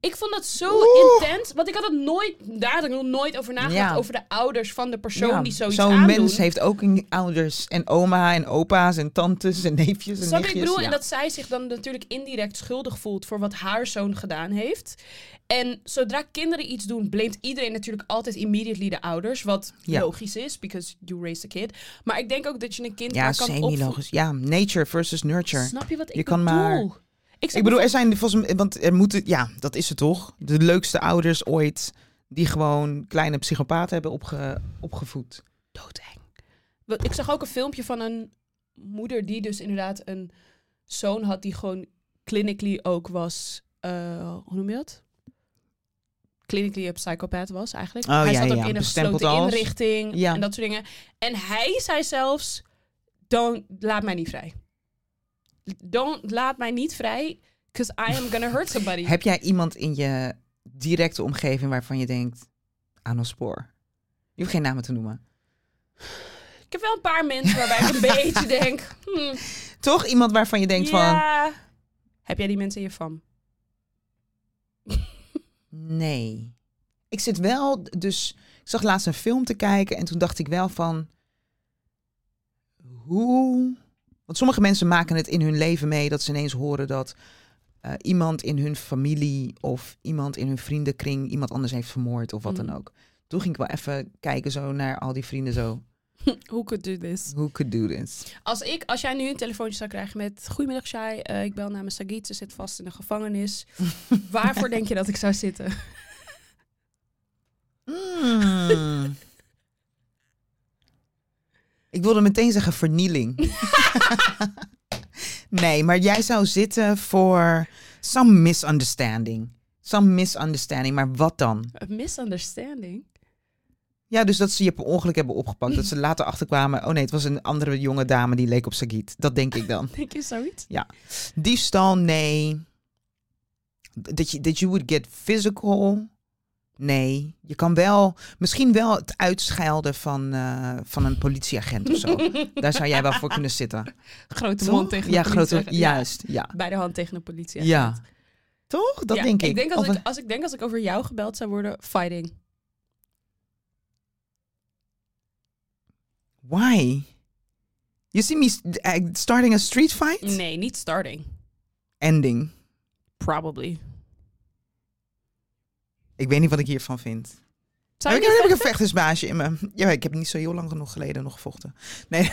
S1: Ik vond dat zo
S2: Oeh.
S1: intens. Want ik had het nooit, daar had ik nog nooit over nagedacht.
S2: Ja.
S1: Over de ouders van de persoon
S2: Ja,
S1: die zoiets
S2: Zo'n
S1: aandoen.
S2: mens heeft ook een- ouders en oma en opa's en tantes en neefjes
S1: Snap
S2: en
S1: je wat
S2: nichtjes.
S1: ik bedoel?
S2: Ja.
S1: En dat zij zich dan natuurlijk indirect schuldig voelt voor wat haar zoon gedaan heeft. En zodra kinderen iets doen, blamt iedereen natuurlijk altijd immediately de ouders. Wat
S2: Ja.
S1: logisch is, because you raised a kid. Maar ik denk ook dat je een kind
S2: ja,
S1: maar kan opvoeden.
S2: semi-logisch. Ja, nature versus nurture.
S1: Snap je wat ik
S2: Je kan
S1: bedoel?
S2: maar-
S1: Ik,
S2: Ik bedoel, er zijn volgens mij, want er moeten, ja, dat is het toch? De leukste ouders ooit die gewoon kleine psychopaten hebben opge, opgevoed.
S1: doodeng. Want Ik zag ook een filmpje van een moeder die dus inderdaad een zoon had die gewoon clinically ook was, eh, hoe noem je dat? Clinically een psychopaat was eigenlijk.
S2: Oh,
S1: hij
S2: ja,
S1: zat ook
S2: ja,
S1: in een
S2: bestempeld
S1: gesloten
S2: als.
S1: inrichting
S2: Ja.
S1: en dat soort dingen. En hij zei zelfs, don't, laat mij niet vrij. Don't, laat mij niet vrij, because I am gonna hurt somebody.
S2: Heb jij iemand in je directe omgeving waarvan je denkt aan ons spoor? Je hoeft geen namen te noemen.
S1: Ik heb wel een paar mensen waarbij ik een beetje denk, hmm,
S2: Toch iemand waarvan je denkt van
S1: ja. Heb jij die mensen in je fam?
S2: Nee. Ik zit wel, dus ik zag laatst een film te kijken en toen dacht ik wel van hoe. Want sommige mensen maken het in hun leven mee dat ze ineens horen dat eh, iemand in hun familie of iemand in hun vriendenkring iemand anders heeft vermoord of wat
S1: Mhm.
S2: dan ook. Toen ging ik wel even kijken zo naar al die vrienden zo.
S1: Hoe could do this?
S2: Who could do this?
S1: Als, ik, als jij nu een telefoontje zou krijgen met... Goedemiddag, Shai. eh, ik bel namens Sagit. Ze zit vast in de gevangenis. Waarvoor denk je dat ik zou zitten?
S2: Mm. ik wilde meteen zeggen vernieling. nee, maar jij zou zitten voor some misunderstanding. Some misunderstanding, maar wat dan?
S1: A misunderstanding?
S2: Ja, dus dat ze je per ongeluk hebben opgepakt. Dat ze later achterkwamen. Oh nee, het was een andere jonge dame die leek op Sagit. Dat denk ik dan.
S1: Denk je zoiets?
S2: Diefstal, nee. Dat je, dat you would get physical. Nee. Je kan wel, misschien wel het uitschelden van, eh, van een politieagent of zo. Daar zou jij wel voor kunnen zitten.
S1: Grote
S2: Toch?
S1: mond tegen de
S2: ja,
S1: politie
S2: grote,
S1: zeggen. Ja.
S2: juist. Ja.
S1: Bij de hand tegen de politie.
S2: Ja. Toch? Dat
S1: Ja,
S2: denk ik.
S1: denk als,
S2: Of
S1: ik, als ik denk als ik over jou gebeld zou worden, fighting.
S2: een- Why? You see me st- eh, starting a street fight?
S1: Nee, niet starting.
S2: Ending.
S1: Probably.
S2: Ik weet niet wat ik hiervan vind.
S1: Zou je
S2: heb, ik, heb ik
S1: niet-
S2: een vechtersbaasje in me? Ja, ik heb niet zo heel lang genoeg geleden nog gevochten. Nee,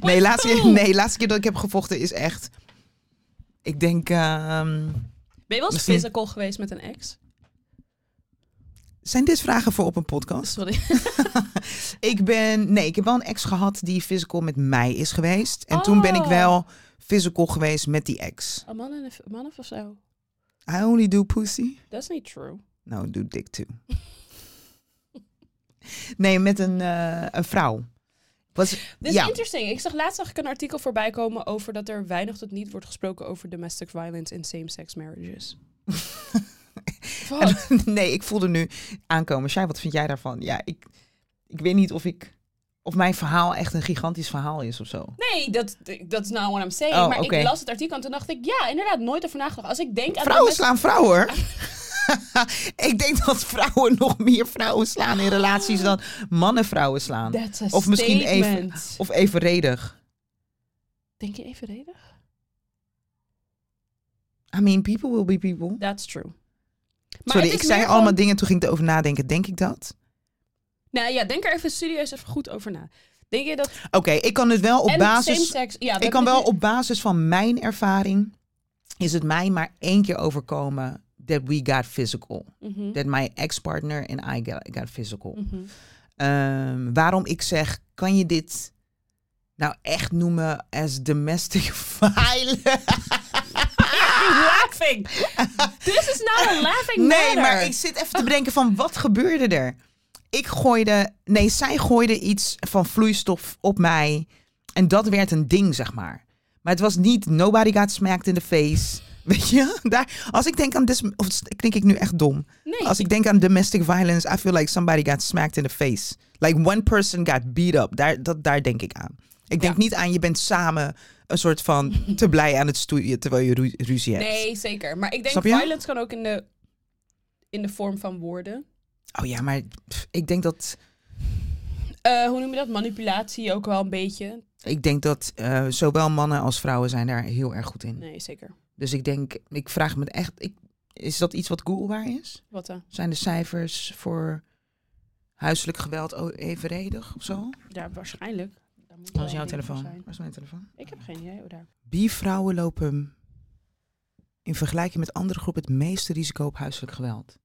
S2: nee, laatste, keer, nee laatste keer dat ik heb gevochten is echt... Ik denk ehm,
S1: Ben je wel eens
S2: Misschien-
S1: physical geweest met een ex?
S2: Zijn dit vragen voor op een podcast?
S1: Sorry.
S2: Ik ben. Nee, ik heb wel een ex gehad die physical met mij is geweest. En toen ben ik
S1: Oh.
S2: wel physical geweest met die ex.
S1: Een man, en een v- man of zo?
S2: I only do pussy. Nou,
S1: That's not true.
S2: No, do dick too. nee, met een, eh, een vrouw. Was,
S1: Dit is
S2: ja,
S1: interesting. Ik zag laatst zag ik een artikel voorbij komen over dat er weinig tot niet wordt gesproken over domestic violence in same-sex marriages. Wat?
S2: nee, ik voelde nu aankomen. Shai, wat vind jij daarvan? Ja, ik, ik weet niet of ik. Of mijn verhaal echt een gigantisch verhaal is of zo.
S1: Nee, dat dat is not what I'm saying.
S2: Oh,
S1: maar
S2: oké.
S1: ik las het artikel en toen dacht ik, ja, inderdaad, nooit ervan nagedacht. Als ik denk aan
S2: Vrouwen
S1: domestic-
S2: slaan vrouwen. hoor. ik denk dat vrouwen nog meer vrouwen slaan in relaties dan mannen vrouwen slaan.
S1: That's a
S2: Of misschien even-
S1: statement.
S2: Of evenredig.
S1: Denk je evenredig?
S2: I mean, people will be people.
S1: That's true.
S2: Sorry,
S1: het
S2: ik
S1: is meer
S2: zei allemaal
S1: gewoon-
S2: dingen, toen ging ik erover nadenken. Denk ik dat?
S1: Nou ja, denk er even serieus even goed over na. Denk je dat...
S2: Oké, ik kan het wel op
S1: en
S2: basis...
S1: same-sex... Ja, we
S2: Ik kan
S1: hebben
S2: wel
S1: het nu-
S2: op basis van mijn ervaring... is het mij maar één keer overkomen... that we got physical.
S1: Mhm,
S2: That my ex-partner and I got, got physical.
S1: mhm.
S2: Ehm, waarom ik zeg, kan je dit nou echt noemen as domestic violence?
S1: laughing. This is not a laughing
S2: Nee,
S1: matter.
S2: maar ik zit even te bedenken van wat gebeurde er? Ik gooide, nee, zij gooide iets van vloeistof op mij en dat werd een ding, zeg maar. Maar het was niet nobody got smacked in the face. Weet je, daar, als ik denk aan, dis, of klink ik nu echt dom.
S1: Nee.
S2: Als ik denk aan domestic violence, I feel like somebody got smacked in the face. Like one person got beat up. Daar, dat, daar denk ik aan. Ik denk
S1: Ja.
S2: niet aan je bent samen een soort van te blij aan het stoeien terwijl je ru- ruzie hebt.
S1: Nee, zeker. Maar ik denk
S2: Snap je?
S1: violence kan ook in de, in de vorm van woorden.
S2: Oh ja, maar pff, ik denk dat,
S1: Eh, hoe noem je dat? Manipulatie ook wel een beetje.
S2: ik denk dat eh, zowel mannen als vrouwen zijn daar heel erg goed in.
S1: Nee, zeker.
S2: Dus ik denk, ik vraag me echt, ik, is dat iets wat Googlebaar is?
S1: Wat eh, dan?
S2: Zijn de cijfers voor huiselijk geweld o- evenredig of zo?
S1: Ja, waarschijnlijk. Daar moet
S2: Waar
S1: wel
S2: is jouw
S1: een ding voor
S2: telefoon?
S1: zijn.
S2: Waar is mijn telefoon?
S1: Ik heb geen idee. hoe daar.
S2: Bi-vrouwen lopen in vergelijking met andere groepen het meeste risico op huiselijk geweld.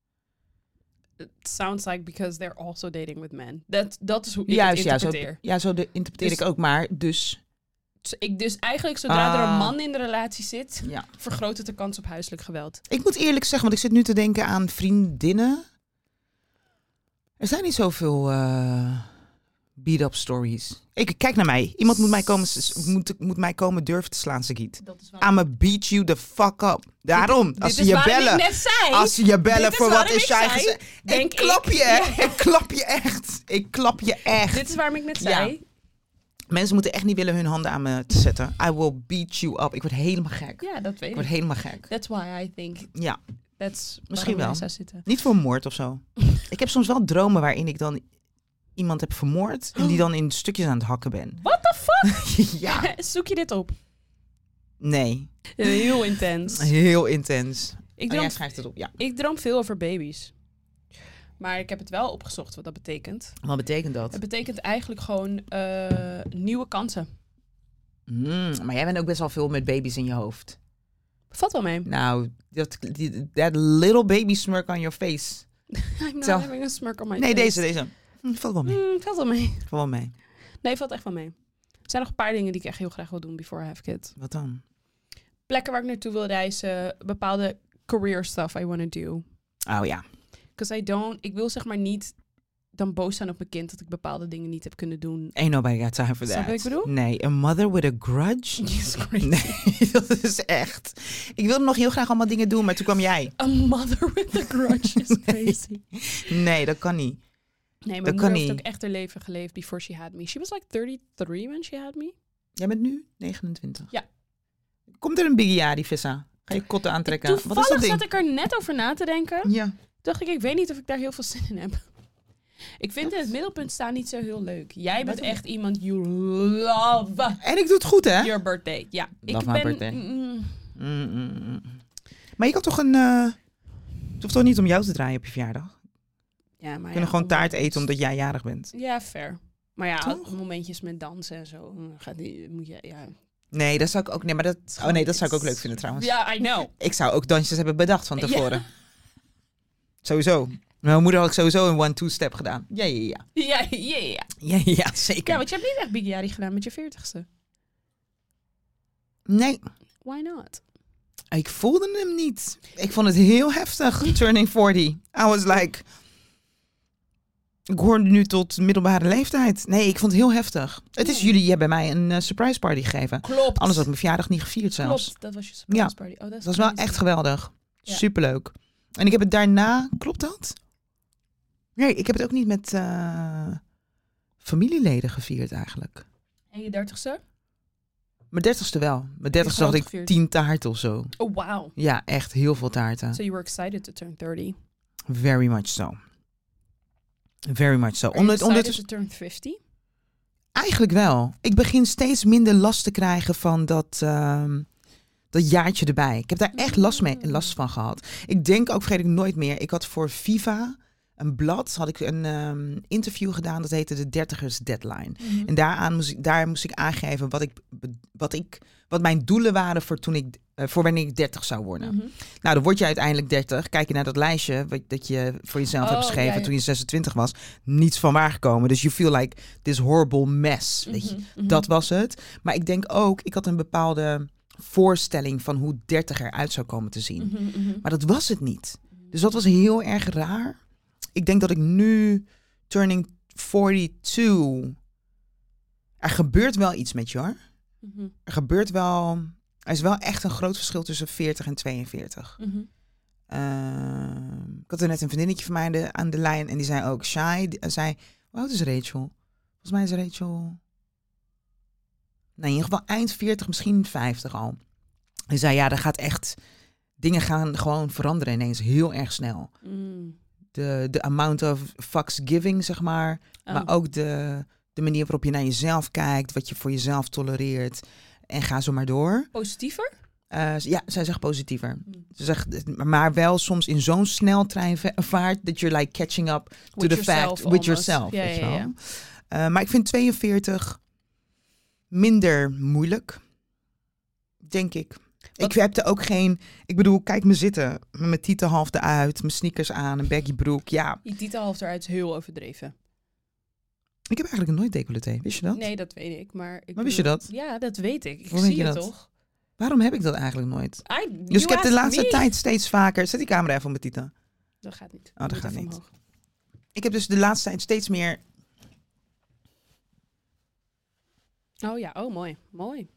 S1: It sounds like because they're also dating with men. Dat, dat is hoe ik het
S2: ja, zo,
S1: interpreteer.
S2: ja, zo de, interpreteer
S1: Dus-
S2: ik ook. Maar dus,
S1: Dus ik dus eigenlijk zodra er een
S2: Ah.
S1: man in de relatie zit,
S2: ja.
S1: vergroot het de kans op huiselijk geweld.
S2: Ik moet eerlijk zeggen, want ik zit nu te denken aan vriendinnen. Er zijn niet zoveel eh beat-up stories. Ik, kijk naar mij. Iemand moet mij komen, s- moet, moet mij komen durven te slaan, Sagiet.
S1: Dat is wel.
S2: I'ma beat you the fuck up. Daarom, Ah, als ze
S1: is
S2: je
S1: waarom Ik
S2: bellen...
S1: net zei.
S2: Als ze je
S1: Dit
S2: bellen
S1: is
S2: voor wat
S1: waarom
S2: is
S1: ik
S2: jij
S1: zei,
S2: gezegd. Ik
S1: denk
S2: klap
S1: ik.
S2: je, hè? Ik klap je echt. Ik klap je echt.
S1: Dit is waarom ik net
S2: Ja.
S1: zei.
S2: Mensen moeten echt niet willen hun handen aan me zetten. I will beat you up. Ik word helemaal gek.
S1: Ja, dat
S2: Ik
S1: weet
S2: word
S1: ik.
S2: helemaal gek.
S1: That's why I think
S2: Ja,
S1: that's waarom
S2: Misschien wel.
S1: jij zou zitten.
S2: niet voor moord of zo. Ik heb soms wel dromen waarin ik dan iemand heb vermoord en die dan in stukjes aan het hakken ben.
S1: What the fuck?
S2: ja,
S1: Zoek je dit op?
S2: nee.
S1: Heel intens.
S2: Heel intens.
S1: Ik
S2: Oh,
S1: droom,
S2: jij schrijft het op. Ja.
S1: ik droom veel over baby's. Maar ik heb het wel opgezocht wat dat betekent.
S2: Wat betekent
S1: Het
S2: dat?
S1: betekent eigenlijk gewoon eh, nieuwe kansen.
S2: Mm, maar jij bent ook best wel veel met baby's in je hoofd.
S1: Valt wel mee.
S2: Nou, dat, die- that little baby smirk on your face.
S1: I'm not
S2: Zo.
S1: having a smirk on my
S2: Nee,
S1: face.
S2: deze, deze. Hm, Valt wel mee.
S1: Hmm, valt wel mee.
S2: Valt wel mee.
S1: Nee, valt echt wel mee. Er zijn nog een paar dingen die ik echt heel graag wil doen before I have kids.
S2: Wat dan?
S1: Plekken waar ik naartoe wil reizen. Bepaalde career stuff I want to do.
S2: Oh ja.
S1: Because I don't... Ik wil zeg maar niet dan boos zijn op mijn kind dat ik bepaalde dingen niet heb kunnen doen.
S2: Ain't nobody got time for that.
S1: Snap je wat ik bedoel?
S2: Nee, a mother with a grudge?
S1: Jesus Christ.
S2: Nee, dat is echt. Ik wilde nog heel graag allemaal dingen doen, maar toen kwam jij.
S1: A mother with a grudge is crazy.
S2: Nee, dat kan niet.
S1: Nee, mijn
S2: Dat kan
S1: moeder heeft
S2: niet.
S1: ook echt haar leven geleefd before she had me. She was like 33 when she had me.
S2: Jij bent nu 29.
S1: Ja.
S2: Komt er een biggie vissa? Ga je kotten aantrekken? Wat is dat
S1: Toevallig
S2: ding?
S1: zat ik er net over na te denken.
S2: Ja.
S1: Dacht ik, ik weet niet of ik daar heel veel zin in heb. Ik vind in het middelpunt staan niet zo heel leuk. Jij bent
S2: Waarom?
S1: echt iemand, you love
S2: En ik doe het goed, hè?
S1: your birthday. Ja, ik
S2: Love my
S1: ben...
S2: birthday.
S1: mm,
S2: Mm, mm, mm. Maar je kan toch een... eh, Het hoeft toch niet om jou te draaien op je verjaardag?
S1: ja, maar
S2: We
S1: Ah ja,
S2: kunnen gewoon
S1: omdat-
S2: taart eten omdat jij jarig bent.
S1: Ja, fair. Maar ja,
S2: Toch?
S1: momentjes met dansen en zo. mm, Gaat die, moet je, ja.
S2: Nee, dat zou ik ook... Nee, maar dat... Oh nee, dat zou ik ook leuk vinden trouwens.
S1: Ja, I know.
S2: Ik zou ook dansjes hebben bedacht van
S1: Ja.
S2: tevoren. Sowieso. Mijn moeder had ik sowieso een one-two-step gedaan. Ja, ja, ja.
S1: Ja, ja, ja, ja.
S2: Ja, ja, zeker.
S1: Ja, want je hebt niet echt Big Yari gedaan met je veertigste.
S2: Nee,
S1: Why not?
S2: ik voelde hem niet. Ik vond het heel heftig, turning 40. I was like... Ik hoor nu tot middelbare leeftijd. Nee, ik vond het heel heftig. Het is
S1: Ja.
S2: jullie hebben mij een eh, surprise party gegeven.
S1: Klopt.
S2: Anders had ik mijn verjaardag niet gevierd zelfs.
S1: Klopt, dat was je surprise
S2: Ja.
S1: party. Oh, dat
S2: Het
S1: is
S2: was Dus wel
S1: crazy.
S2: echt geweldig.
S1: Ja.
S2: Superleuk. En ik heb het daarna, klopt dat? Nee, ik heb het ook niet met eh, familieleden gevierd eigenlijk.
S1: En je dertigste?
S2: Mijn dertigste wel. Mijn dertigste had
S1: groot
S2: ik
S1: gevierd?
S2: tien taarten of zo.
S1: Oh, wow.
S2: Ja, echt heel veel taarten.
S1: So you were excited to turn 30.
S2: Very much so. Very much so.
S1: Are you
S2: Omdat, omdat,
S1: excited to turn 50?
S2: eigenlijk wel. Ik begin steeds minder last te krijgen van dat, ehm, Dat jaartje erbij. Ik heb daar echt last, mee, last van gehad. Ik denk ook, vergeet ik nooit meer. Ik had voor Viva, een blad, had ik een ehm, interview gedaan. Dat heette de Dertigers Deadline.
S1: Mhm.
S2: En daaraan moest ik, daar moest ik aangeven wat, ik, be- wat, ik, wat mijn doelen waren voor, toen ik, eh, voor wanneer ik 30 zou worden.
S1: Mhm.
S2: Nou, dan word je uiteindelijk 30. Kijk je naar dat lijstje wat, dat je voor jezelf
S1: Oh,
S2: hebt geschreven
S1: ja, ja.
S2: toen je 26 was. Niets van waargekomen. Dus you feel like this horrible mess. Weet
S1: Mhm.
S2: je? Dat was het. Maar ik denk ook, ik had een bepaalde voorstelling van hoe 30 eruit zou komen te
S1: Mhm.
S2: zien. Maar dat was het niet. Dus dat was heel erg raar. Ik denk dat ik nu, turning 42, er gebeurt wel iets met je hoor.
S1: Mhm,
S2: Er gebeurt wel, er is wel echt een groot verschil tussen 40 en 42.
S1: mhm.
S2: Ehm, ik had er net een vriendinnetje van mij aan de, aan de lijn en die zei ook, Shai, die- eh, zei, hoe oud is Rachel? Volgens mij is Rachel, nou in ieder geval eind 40, misschien 50 al. Die zei, ja, er gaat echt, dingen gaan gewoon veranderen ineens heel erg snel
S1: Mm.
S2: de, de amount of fucks giving, zeg maar.
S1: Oh.
S2: Maar ook de, de manier waarop je naar jezelf kijkt, wat je voor jezelf tolereert. En ga zo maar door.
S1: Positiever?
S2: Eh, z- ja, zij zegt positiever. Ze zegt, eh, maar wel soms in zo'n sneltreinvaart dat je like catching up to the fact with yourself.
S1: Ja,
S2: weet je
S1: ja,
S2: wel.
S1: ja.
S2: Eh, maar ik vind 42 minder moeilijk, denk ik.
S1: Wat-
S2: Ik heb er ook geen... Ik bedoel, kijk me zitten. Met mijn tieten half eruit, mijn sneakers aan, een baggy broek. Ja,
S1: Je titelhalf eruit is heel overdreven.
S2: Ik heb eigenlijk nooit decolleté, wist je dat?
S1: Nee, dat weet ik. Maar, ik
S2: Maar wist je
S1: bedoel-
S2: dat?
S1: Ja, dat weet ik. Ik
S2: Hoe weet
S1: zie
S2: je
S1: het
S2: dat?
S1: toch?
S2: Waarom heb ik dat eigenlijk nooit?
S1: I,
S2: Dus
S1: you
S2: ik heb de
S1: asked
S2: laatste
S1: me.
S2: tijd steeds vaker... Zet die camera even op mijn titel.
S1: Dat gaat niet.
S2: dat
S1: Moet
S2: gaat
S1: even
S2: niet.
S1: omhoog.
S2: Ik heb dus de laatste tijd steeds meer...
S1: Oh ja, oh mooi. Mooi.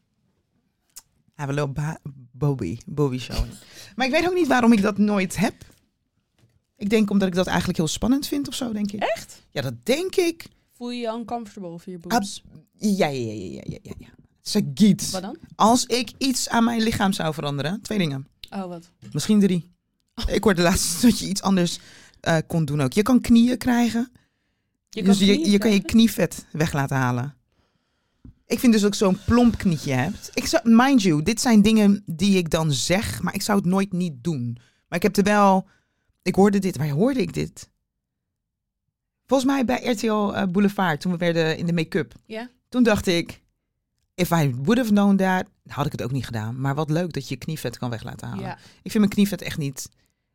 S2: Ah, we lopen ba- Bobby. Bobby show. maar ik weet ook niet waarom ik dat nooit heb. Ik denk omdat ik dat eigenlijk heel spannend vind of zo, denk ik.
S1: Echt?
S2: Ja, dat denk ik.
S1: Voel je je uncomfortable over je boobs?
S2: Abs- ja, ja, ja, ja, ja, ja, ja. Ze giet.
S1: Wat dan?
S2: Als ik iets aan mijn lichaam zou veranderen, twee dingen.
S1: Oh, wat?
S2: Misschien drie. Ik hoorde laatst dat je iets anders eh, kon doen ook. Je kan knieën krijgen. dus je, je kan je knievet weg laten halen. Ik vind dus dat ik zo'n plomp knietje heb. Ik zou, mind you, dit zijn dingen die ik dan zeg, maar ik zou het nooit niet doen. Maar ik heb er wel... Ik hoorde dit. Waar hoorde ik dit? Volgens mij bij RTL eh, Boulevard, toen we werden in de make-up.
S1: Ja.
S2: Toen dacht ik, if I would have known that, had ik het ook niet gedaan. Maar wat leuk dat je je knievet kan weg laten halen.
S1: Ja,
S2: Ik vind mijn knievet echt niet...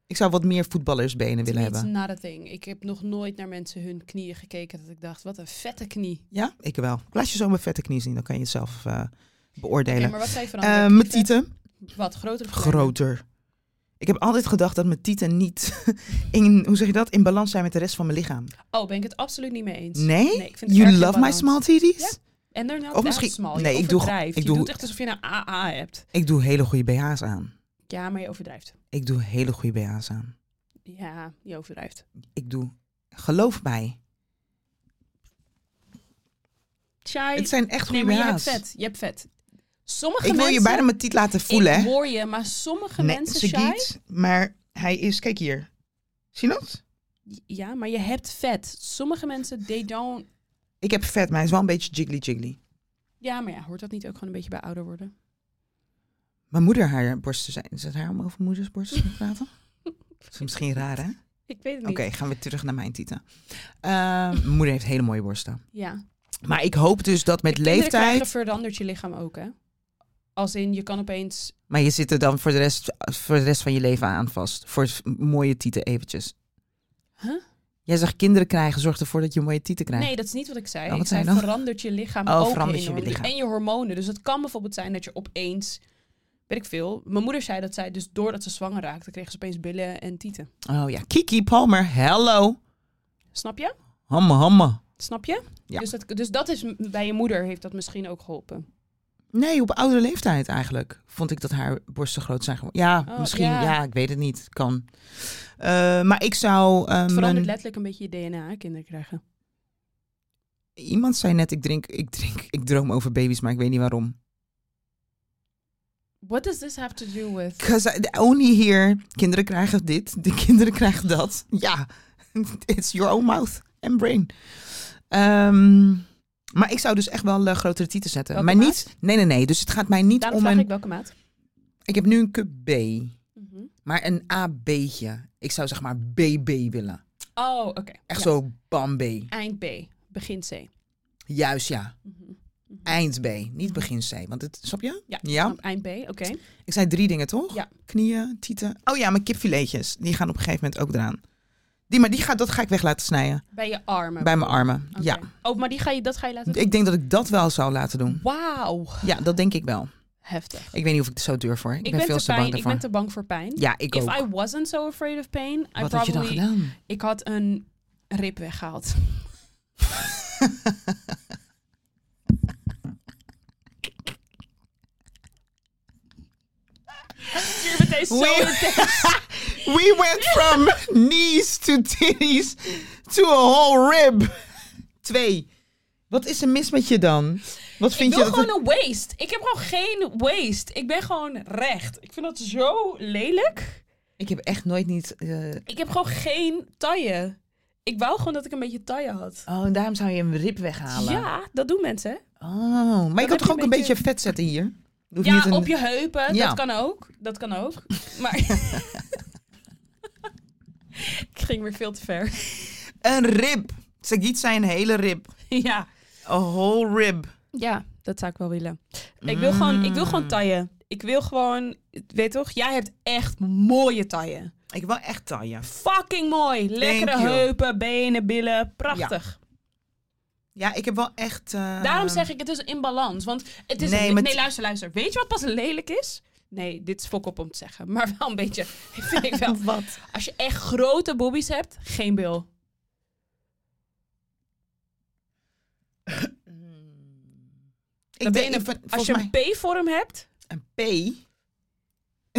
S2: Ik zou wat meer voetballersbenen willen
S1: it's
S2: hebben.
S1: not a thing. Ik heb nog nooit naar mensen hun knieën gekeken dat ik dacht, wat een vette knie.
S2: Ja, ik wel. Laat je zo mijn vette knie zien, dan kan je het zelf eh,
S1: Oké,
S2: beoordelen.
S1: maar wat zei je van
S2: Eh,
S1: andere
S2: mijn
S1: knieën?
S2: tieten,
S1: Wat, groter of kleiner?
S2: groter. Ik heb altijd gedacht dat mijn tieten niet in, hoe zeg je dat, in balans zijn met de rest van mijn lichaam.
S1: Oh, ben ik het absoluut niet mee eens.
S2: Nee?
S1: ik vind het erg
S2: You
S1: in
S2: love my
S1: balans.
S2: small titties?
S1: En daarna
S2: Of misschien-
S1: smal.
S2: nee,
S1: je
S2: ik doe-
S1: overdrijft.
S2: ik
S1: je
S2: doe-
S1: doet echt alsof je een AA hebt.
S2: Ik doe hele goede BH's aan.
S1: Ja, maar je overdrijft.
S2: Ik doe hele goede BH's aan.
S1: Ja, je overdrijft.
S2: Ik doe, geloof mij,
S1: Chai,
S2: het zijn echt goede
S1: nee, maar je hebt
S2: BH's.
S1: vet. Je hebt vet. Sommige
S2: Ik wil
S1: mensen...
S2: je bijna mijn tiet laten voelen,
S1: Ik
S2: hè?
S1: hoor je, maar sommige
S2: Nee,
S1: mensen,
S2: ze
S1: Chai...
S2: giet, maar hij is, kijk hier. Zie je dat?
S1: Ja, maar je hebt vet. Sommige mensen, they don't...
S2: Ik heb vet, maar hij is wel een beetje jiggly jiggly.
S1: Ja, maar ja, hoort dat niet ook gewoon een beetje bij ouder worden?
S2: Mijn moeder haar borsten zijn. Is het haar om over moeders borsten te praten? Dat is misschien raar, hè? Oké,
S1: Ik weet het niet.
S2: gaan we terug naar mijn tieten. Eh, mijn moeder heeft hele mooie borsten.
S1: Ja.
S2: Maar ik hoop dus dat met
S1: Je kinderen
S2: leeftijd...
S1: krijgen verandert je lichaam ook, hè? Als in, je kan opeens...
S2: Maar je zit er dan voor de, rest, voor de rest van je leven aan vast. Voor s- mooie tieten eventjes.
S1: Huh?
S2: Jij zegt kinderen krijgen, zorg ervoor dat je mooie tieten krijgt.
S1: Nee, dat is niet wat ik zei.
S2: Oh, wat
S1: ik
S2: zei
S1: zei,
S2: je dan?
S1: verandert je lichaam
S2: Oh,
S1: ook
S2: verandert je
S1: enorm.
S2: lichaam.
S1: En je hormonen. Dus het kan bijvoorbeeld zijn dat je opeens... Weet ik veel. Mijn moeder zei dat zij dus doordat ze zwanger raakte... kreeg ze opeens billen en tieten.
S2: Oh ja, Kiki Palmer, hello.
S1: Snap je?
S2: Hamme, hamme.
S1: Snap je?
S2: Ja.
S1: Dus, dat, dus dat is... m- Bij je moeder heeft dat misschien ook geholpen.
S2: Nee, op oudere leeftijd eigenlijk. Vond ik dat haar borsten groot zijn geworden. Ja,
S1: Oh,
S2: misschien. Ja.
S1: ja.
S2: ik weet het niet. Kan. Eh, maar ik zou... eh,
S1: Het
S2: mijn-
S1: verandert letterlijk een beetje je DNA, kinderen krijgen.
S2: Iemand zei net, ik drink, ik drink, ik droom over baby's, maar ik weet niet waarom.
S1: What does this have to do with...
S2: Because I- I only hear, kinderen krijgen dit, de kinderen krijgen dat. Ja, it's your own mouth and brain. Ehm, maar ik zou dus echt wel eh, grotere tieten zetten.
S1: Welke
S2: maar niet, nee, nee, nee. Dus het gaat mij niet
S1: Daarom
S2: om
S1: vraag
S2: een,
S1: ik welke maat.
S2: Ik heb nu een cup B,
S1: Mhm.
S2: maar een AB'tje. Ik zou zeg maar BB willen.
S1: Oh, oké.
S2: Echt
S1: Ja.
S2: zo Oh. bam B.
S1: Eind B, begin C.
S2: Juist ja.
S1: Mhm.
S2: Eind B, niet begin C. Want het, snap je?
S1: Ja,
S2: ja.
S1: Op Eind B, oké.
S2: Ik zei drie dingen, toch?
S1: Ja.
S2: Knieën, tieten. Oh ja, mijn kipfiletjes. Die gaan op een gegeven moment ook eraan. Die, maar die ga, dat ga ik weg laten snijden.
S1: Bij je armen.
S2: Bij mijn armen.
S1: Oké.
S2: Ja.
S1: Oh, maar die ga je, dat ga je laten
S2: Ik denk dat ik dat wel zou laten doen.
S1: Wauw.
S2: Ja, dat denk ik wel.
S1: Heftig.
S2: Ik weet niet of ik het zo durf hoor. Ik,
S1: Ik
S2: ben,
S1: ben,
S2: veel
S1: te
S2: te bang
S1: pijn, ik
S2: daarvoor.
S1: ben te bang voor pijn.
S2: Ja, ik
S1: If
S2: ook.
S1: I wasn't so afraid of pain, I
S2: Wat
S1: probably...
S2: had je dan gedaan?
S1: Ik had een rib weggehaald. Hier meteen zo
S2: Wee-
S1: intens.
S2: We went from knees to titties to a whole rib. Twee. Wat is er mis met je dan? Wat
S1: Ik
S2: vind
S1: wil
S2: je
S1: gewoon
S2: dat? het-
S1: een waist. Ik heb gewoon geen waist. Ik ben gewoon recht. Ik vind dat zo lelijk.
S2: Ik heb echt nooit niet. eh,
S1: Ik heb gewoon geen taille. Ik wou gewoon dat ik een beetje taille had.
S2: Oh, en daarom zou je een rib weghalen.
S1: Ja, dat doen mensen. hè?
S2: Oh, maar
S1: heb
S2: je kan toch
S1: je
S2: ook
S1: een
S2: een
S1: beetje-
S2: beetje vet zetten hier? Je hoeft
S1: Ja,
S2: niet een-
S1: op je heupen.
S2: Ja.
S1: Dat kan ook. Dat kan ook. Maar... ik ging weer veel te ver.
S2: Een rib. Sagiet zei een hele rib.
S1: ja.
S2: A whole rib. Mm.
S1: ja, dat zou ik wel willen. Mm. Ik wil gewoon, ik wil gewoon taille. Ik wil gewoon, weet toch, jij hebt echt mooie taille.
S2: Ik wil echt taille.
S1: Fucking mooi. Lekkere
S2: Thank you.
S1: heupen, benen, billen. Prachtig.
S2: Ja, ik heb wel echt... eh,
S1: Daarom zeg ik, het is in balans. Want het is.
S2: Nee,
S1: Ah. Nee,
S2: maar
S1: nee
S2: t-
S1: luister, luister. Weet je wat pas lelijk is? Nee, dit is fok op om te zeggen. Maar wel een beetje. Vind ik wel.
S2: Wat?
S1: Als je echt grote boobies hebt, geen bil.
S2: Ik
S1: ben
S2: denk,
S1: je
S2: ik vind-
S1: Als
S2: volgens
S1: je
S2: mij
S1: een P-vorm hebt,
S2: een P...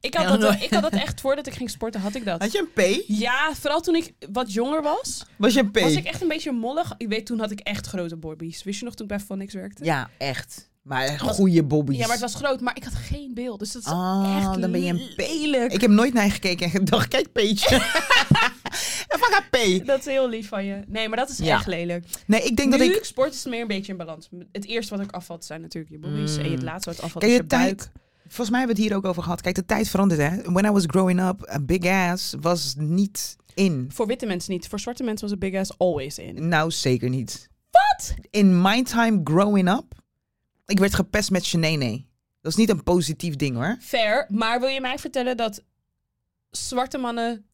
S1: ik had,
S2: Ja,
S1: dat,
S2: maar-
S1: ik had dat echt voordat ik ging sporten, had ik dat.
S2: Had je een P?
S1: Ja, vooral toen ik wat jonger was,
S2: Was je een P?
S1: was ik echt een beetje mollig. Ik weet, toen had ik echt grote bobbies. Wist je nog toen ik bij Phonics werkte?
S2: Ja, echt. Maar goede bobby's.
S1: Ja, maar het was groot, maar ik had geen beeld. Dus dat is
S2: Ah,
S1: echt
S2: dan ben je een
S1: lelijk.
S2: Ik heb nooit naar je gekeken en gedacht, kijk Peetje. Even gaan P.
S1: Dat is heel lief van je. Nee, maar dat is
S2: Ja.
S1: echt lelijk.
S2: Nee, ik denk
S1: nu,
S2: dat ik...
S1: sport is meer een beetje in balans. Het eerste wat ook afvalt zijn natuurlijk je bobby's. En het laatste wat afvalt
S2: Mm. Kijk,
S1: is
S2: de
S1: je buik.
S2: tijd. Volgens mij hebben we het hier ook over gehad. Kijk, de tijd verandert, hè. When I was growing up, a big ass was niet in.
S1: Voor witte mensen niet. Voor zwarte mensen was een big ass always in.
S2: Nou, zeker niet.
S1: Wat?
S2: In my time growing up, ik werd gepest met Shenene. Dat is niet een positief ding, hoor.
S1: Fair, maar wil je mij vertellen dat zwarte mannen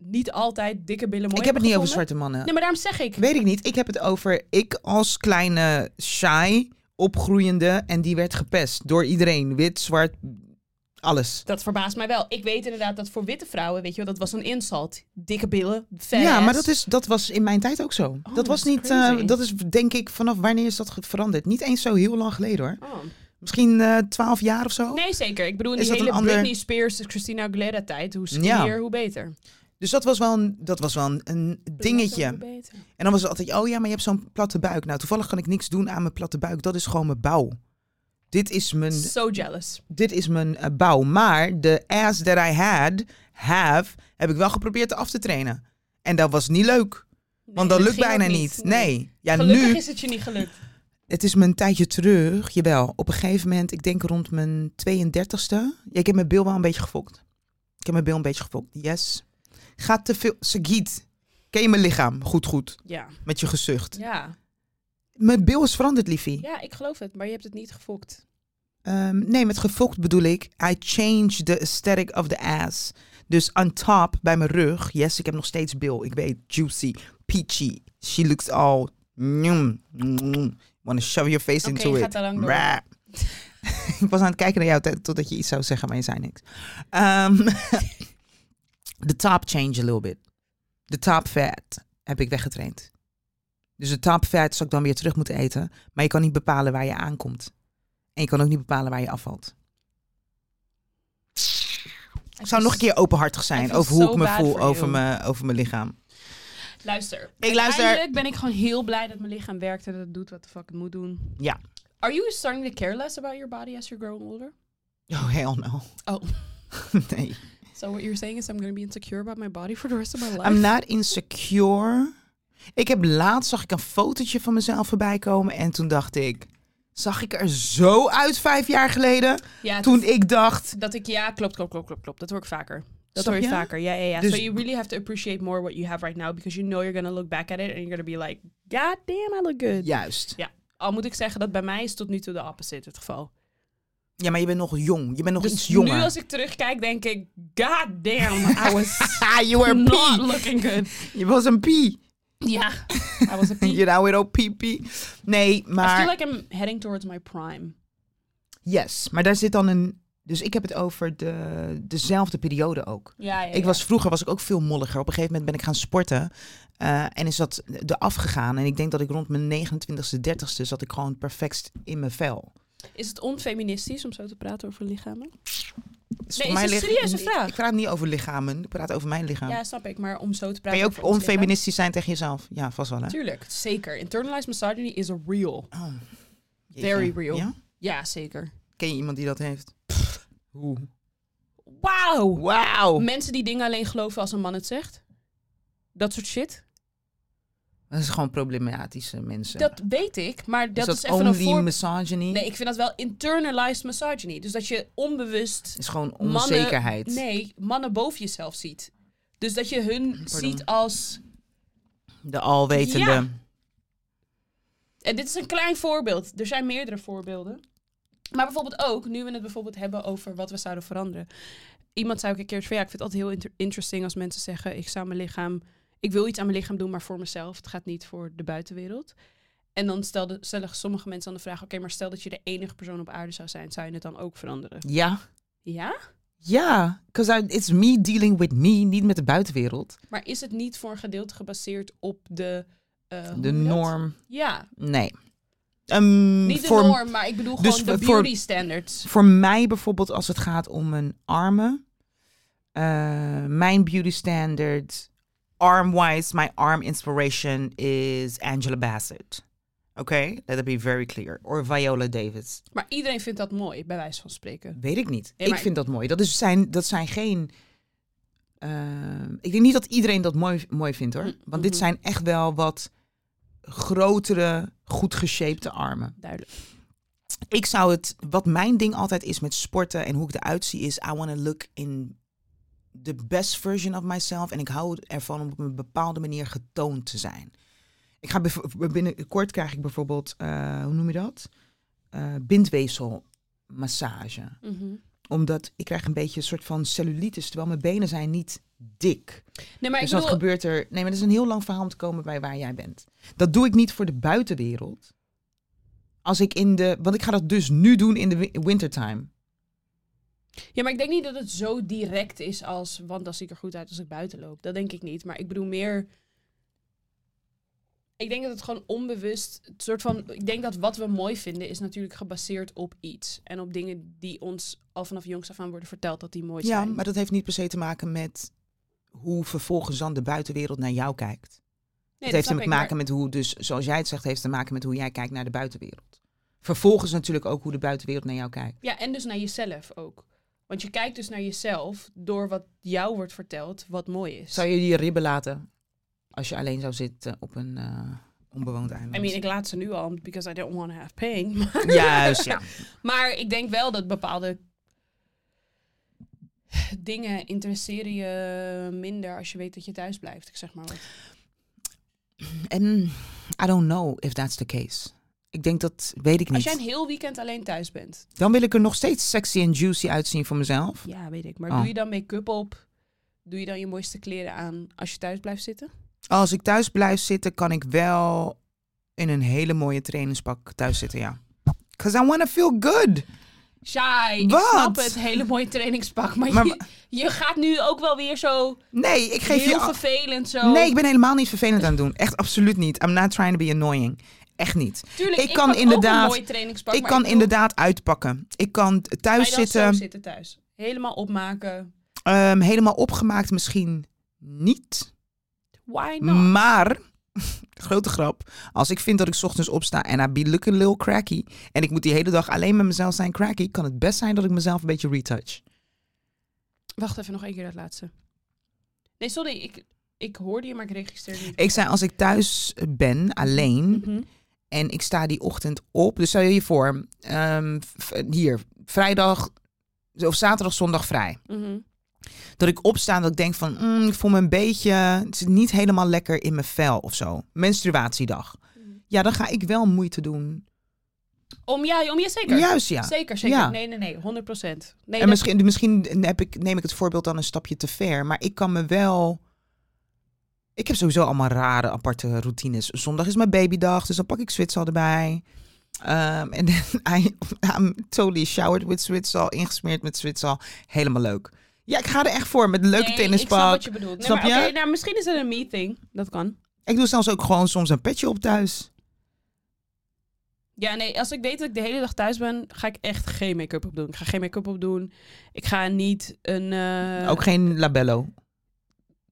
S1: niet altijd dikke billen mooi
S2: ik heb het niet over
S1: gevonden?
S2: zwarte mannen.
S1: Nee, maar daarom zeg ik.
S2: Weet ik niet. Ik heb het over ik als kleine shy opgroeiende en die werd gepest door iedereen. Wit, zwart, alles.
S1: Dat verbaast mij wel. Ik weet inderdaad dat voor witte vrouwen, weet je wel, dat was een insult. Dikke billen, fat
S2: Ja, maar
S1: ass.
S2: dat, is, dat was in mijn tijd ook zo. dat was
S1: that's
S2: niet, eh,
S1: Oh, crazy.
S2: dat is denk ik vanaf wanneer is dat ge- veranderd? Niet eens zo heel lang geleden hoor.
S1: Oh.
S2: Misschien eh 12 jaar of zo.
S1: Nee, zeker. Ik bedoel, in
S2: Is
S1: die
S2: dat een
S1: hele
S2: ander-
S1: Britney Spears, Christina Aguilera tijd. Hoe skinnier, hoe beter.
S2: Dus dat was wel een, dat was wel een, een dingetje.
S1: Hoe beter.
S2: En dan was het altijd, oh ja, maar je hebt zo'n platte buik. Nou, toevallig kan ik niks doen aan mijn platte buik. Dat is gewoon mijn bouw. Dit is mijn
S1: So jealous.
S2: dit is mijn eh, bouw. Maar de ass that I had, have, heb ik wel geprobeerd af te trainen. En dat was niet leuk. Want dat
S1: Nee,
S2: lukt
S1: ging ook
S2: bijna niet. Nee. Ja,
S1: Gelukkig
S2: nu,
S1: is het je niet gelukt.
S2: het is me een tijdje terug. Jawel, op een gegeven moment, ik denk rond mijn 32ste. Ja, ik heb mijn bil wel een beetje gefokt. Ik heb mijn bil een beetje gefokt. Yes. Gaat te veel. Sagiet. Ken je mijn lichaam? Goed, goed.
S1: Ja.
S2: Met je gezucht.
S1: ja.
S2: Mijn bil is veranderd, liefie.
S1: Ja, ik geloof het. Maar je hebt het niet gefokt.
S2: Ehm, nee, met gefokt bedoel ik. I changed the aesthetic of the ass. Dus on top bij mijn rug. Yes, ik heb nog steeds bil. Ik weet, juicy, peachy. She looks all. Mm, mm, wanna shove your
S1: Oké,
S2: face into
S1: je
S2: it.
S1: gaat daar lang door.
S2: Rah. ik was aan het kijken naar jou t- totdat je iets zou zeggen, maar je zei niks. Ehm, the top changed a little bit. De top fat heb ik weggetraind. Dus de top fat zou ik dan weer terug moeten eten. Maar je kan niet bepalen waar je aankomt. En je kan ook niet bepalen waar je afvalt. Ik zou nog een keer openhartig
S1: I
S2: zijn
S1: feel
S2: over hoe
S1: so
S2: ik me
S1: bad
S2: voel
S1: for
S2: over
S1: you.
S2: mijn, over mijn lichaam.
S1: Luister.
S2: Ik luister.
S1: Uiteindelijk ben ik gewoon heel blij dat mijn lichaam werkt en dat het doet wat de fuck het moet doen.
S2: Ja.
S1: Are you starting to care less about your body as you're growing older?
S2: Oh, hell no.
S1: Oh.
S2: nee.
S1: So what you're saying is I'm going to be insecure about my body for the rest of my life?
S2: I'm not insecure. Ik heb laatst zag ik een fotootje van mezelf voorbij komen en toen dacht ik, zag ik er zo uit vijf jaar geleden.
S1: Ja,
S2: Toen ik dacht,
S1: dat ik ja, klopt, klopt, klopt, klopt, klopt. Dat hoor ik vaker. Dat
S2: Snap
S1: hoor je,
S2: je?
S1: vaker. Ja, ja, ja.
S2: Dus-
S1: so you really have to appreciate more what you have right now because you know you're gonna look back at it and you're gonna be like, god damn, I look good.
S2: juist.
S1: Al moet ik zeggen dat bij mij is tot nu toe de opposite het geval.
S2: Ja, maar je bent nog jong. Je bent nog
S1: Dus
S2: iets jonger.
S1: nu als ik terugkijk denk ik, god damn, I was
S2: Ah, you were
S1: not
S2: pee.
S1: looking good.
S2: Je was een pie.
S1: Ja, I was a peak.
S2: You know it all pee pee. Nee,
S1: I
S2: maar...
S1: feel like I'm heading towards my prime.
S2: Yes, maar daar zit dan een... Dus ik heb het over de, dezelfde periode ook.
S1: Ja, ja,
S2: Ik was vroeger was ik ook veel molliger. Op een gegeven moment ben ik gaan sporten. eh, en is dat eraf gegaan. En ik denk dat ik rond mijn 29ste, 30ste zat ik gewoon perfect in mijn vel.
S1: Is het onfeministisch om zo te praten over lichamen? Nee,
S2: Dus voor
S1: is
S2: mij
S1: een
S2: ligt-
S1: serieuze
S2: ik-
S1: vraag.
S2: Ik praat niet over lichamen. Ik praat over mijn lichaam.
S1: Ja, snap ik. Maar om zo te praten
S2: kan je ook
S1: over ons lichaam-
S2: onfeministisch zijn tegen jezelf? Ja, vast wel hè?
S1: Tuurlijk, zeker. Internalized misogyny is real.
S2: Oh, jeetje.
S1: Very real.
S2: Ja?
S1: Ja, zeker.
S2: Ken je iemand die dat heeft? Hoe?
S1: Wauw!
S2: Wauw!
S1: Mensen die dingen alleen geloven als een man het zegt. Dat soort shit.
S2: Dat is gewoon problematische mensen.
S1: Dat weet ik, maar dat
S2: is dat
S1: is even
S2: only
S1: een voorbeeld.
S2: misogyny?
S1: Nee, ik vind dat wel internalized misogyny. Dus dat je onbewust
S2: is gewoon
S1: mannen-
S2: onzekerheid.
S1: Nee, mannen boven jezelf ziet. Dus dat je hun ziet als...
S2: De alwetende.
S1: Ja. En dit is een klein voorbeeld. Er zijn meerdere voorbeelden. Maar bijvoorbeeld ook, nu we het bijvoorbeeld hebben over wat we zouden veranderen. Iemand zei ook een keer van ja, ik vind het altijd heel inter- interesting als mensen zeggen ik zou mijn lichaam, ik wil iets aan mijn lichaam doen, maar voor mezelf. Het gaat niet voor de buitenwereld. En dan stelde, stellen sommige mensen dan de vraag, oké, maar stel dat je de enige persoon op aarde zou zijn, zou je het dan ook veranderen?
S2: Ja.
S1: Ja?
S2: Ja, because it's me dealing with me, niet met de buitenwereld.
S1: Maar is het niet voor een gedeelte gebaseerd op de... eh, hoe
S2: De
S1: noem je dat?
S2: norm.
S1: Ja,
S2: Nee. Ehm,
S1: niet de
S2: voor,
S1: norm, maar ik bedoel
S2: dus
S1: gewoon de
S2: voor-
S1: beauty standards.
S2: Voor mij bijvoorbeeld, als het gaat om mijn armen. eh, mijn beauty standard, arm-wise, my arm inspiration is Angela Bassett. Oké, let it be very clear. Or Viola Davis.
S1: Maar iedereen vindt dat mooi, bij wijze van spreken.
S2: Weet ik niet.
S1: Nee,
S2: ik
S1: maar-
S2: vind dat mooi. Dat, is zijn, dat zijn geen. eh, ik denk niet dat iedereen dat mooi, mooi vindt hoor.
S1: Mm,
S2: Want dit
S1: mhm.
S2: zijn echt wel wat grotere, goed geshapte armen.
S1: Duidelijk.
S2: Ik zou het, wat mijn ding altijd is met sporten en hoe ik eruit zie, is I want to look in the best version of myself. En ik hou ervan om op een bepaalde manier getoond te zijn. Ik ga bev- binnenkort krijg ik bijvoorbeeld, eh, hoe noem je dat? Eh bindweefselmassage omdat ik krijg een beetje een soort van cellulitis, terwijl mijn benen zijn niet dik.
S1: Nee, maar
S2: dus
S1: ik
S2: dat
S1: bedoel,
S2: gebeurt er. Nee, maar dat is een heel lang verhaal om te komen bij waar jij bent. Dat doe ik niet voor de buitenwereld. Als ik in de, want ik ga dat dus nu doen in de wi- wintertime.
S1: ja, maar ik denk niet dat het zo direct is als, want dan zie ik er goed uit als ik buiten loop. Dat denk ik niet. Maar ik bedoel meer, ik denk dat het gewoon onbewust, het soort van, ik denk dat wat we mooi vinden is natuurlijk gebaseerd op iets. En op dingen die ons al vanaf jongs af aan worden verteld dat die mooi
S2: Ja,
S1: zijn.
S2: maar dat heeft niet per se te maken met hoe vervolgens dan de buitenwereld naar jou kijkt.
S1: nee,
S2: het heeft
S1: snap
S2: te
S1: ik, maar-
S2: maken met hoe, dus zoals jij het zegt, heeft te maken met hoe jij kijkt naar de buitenwereld. Vervolgens natuurlijk ook hoe de buitenwereld naar jou kijkt.
S1: Ja, en dus naar jezelf ook. Want je kijkt dus naar jezelf door wat jou wordt verteld, wat mooi is.
S2: Zou je die ribben laten als je alleen zou zitten op een eh, onbewoond eiland?
S1: I mean, ik laat ze nu al, because I don't want to have pain.
S2: Juist, ja.
S1: Maar ik denk wel dat bepaalde dingen interesseren je minder als je weet dat je thuis blijft. Ik zeg maar wat.
S2: En I don't know if that's the case. Ik denk dat, weet ik
S1: Als
S2: niet.
S1: jij een heel weekend alleen thuis bent.
S2: Dan wil ik er nog steeds sexy en juicy uitzien voor mezelf.
S1: Ja, weet ik. Maar
S2: Oh.
S1: doe je dan make-up op? Doe je dan je mooiste kleren aan als je thuis blijft zitten?
S2: Als ik thuis blijf zitten, kan ik wel in een hele mooie trainingspak thuis zitten, ja. Because I want to feel good.
S1: Shai, ik
S2: Wat?
S1: snap het. Hele mooie trainingspak. Maar,
S2: Maar
S1: je, je gaat nu ook wel weer zo
S2: Nee, ik geef
S1: heel
S2: je... al-
S1: vervelend. Zo.
S2: Nee, ik ben helemaal niet vervelend aan het doen. Echt absoluut niet. I'm not trying to be annoying. Echt niet.
S1: Tuurlijk,
S2: ik
S1: ik
S2: kan
S1: kan ook een
S2: inderdaad-
S1: mooi trainingspak.
S2: ik
S1: maar
S2: kan
S1: bedoel,
S2: inderdaad uitpakken. Ik kan
S1: ga
S2: thuis
S1: je dan zo
S2: zitten,
S1: zitten thuis. Helemaal opmaken.
S2: ehm, helemaal opgemaakt misschien niet.
S1: Why not?
S2: Maar, grote grap, als ik vind dat ik 's ochtends opsta en I be looking little cracky en ik moet die hele dag alleen met mezelf zijn cracky, kan het best zijn dat ik mezelf een beetje retouch.
S1: Wacht even, nog één keer dat laatste. Nee, sorry, ik, ik hoorde je, maar ik registreerde niet.
S2: Ik zei, als ik thuis ben, alleen,
S1: Mhm.
S2: En ik sta die ochtend op. Dus stel je voor, ehm, v- hier, vrijdag of zaterdag, zondag vrij.
S1: Mhm.
S2: Dat ik opsta dat ik denk van, mm, ik voel me een beetje, het zit niet helemaal lekker in mijn vel of zo. Menstruatiedag.
S1: Mm.
S2: Ja, dan ga ik wel moeite doen.
S1: Om, ja, om je zeker.
S2: Juist, ja.
S1: Zeker, zeker.
S2: Ja.
S1: Nee, nee, nee. 100 procent. Nee,
S2: En
S1: dat-
S2: misschien, misschien heb ik, neem ik het voorbeeld dan een stapje te ver. Maar ik kan me wel. Ik heb sowieso allemaal rare aparte routines. Zondag is mijn babydag, dus dan pak ik Zwitsal erbij. Ehm, En dan I, I'm totally showered with Zwitsal, ingesmeerd met Zwitsal. Helemaal leuk. Ja, ik ga er echt voor met een leuke
S1: nee, Ik snap
S2: tennispak.
S1: wat je bedoelt. Nee,
S2: Snap
S1: maar,
S2: je?
S1: oké, nou, misschien is het een meeting. Dat kan.
S2: Ik doe zelfs ook gewoon soms een petje op thuis.
S1: Ja, nee, als ik weet dat ik de hele dag thuis ben, ga ik echt geen make-up op doen. Ik ga geen make-up op doen. Ik ga niet een. eh,
S2: ook geen labello.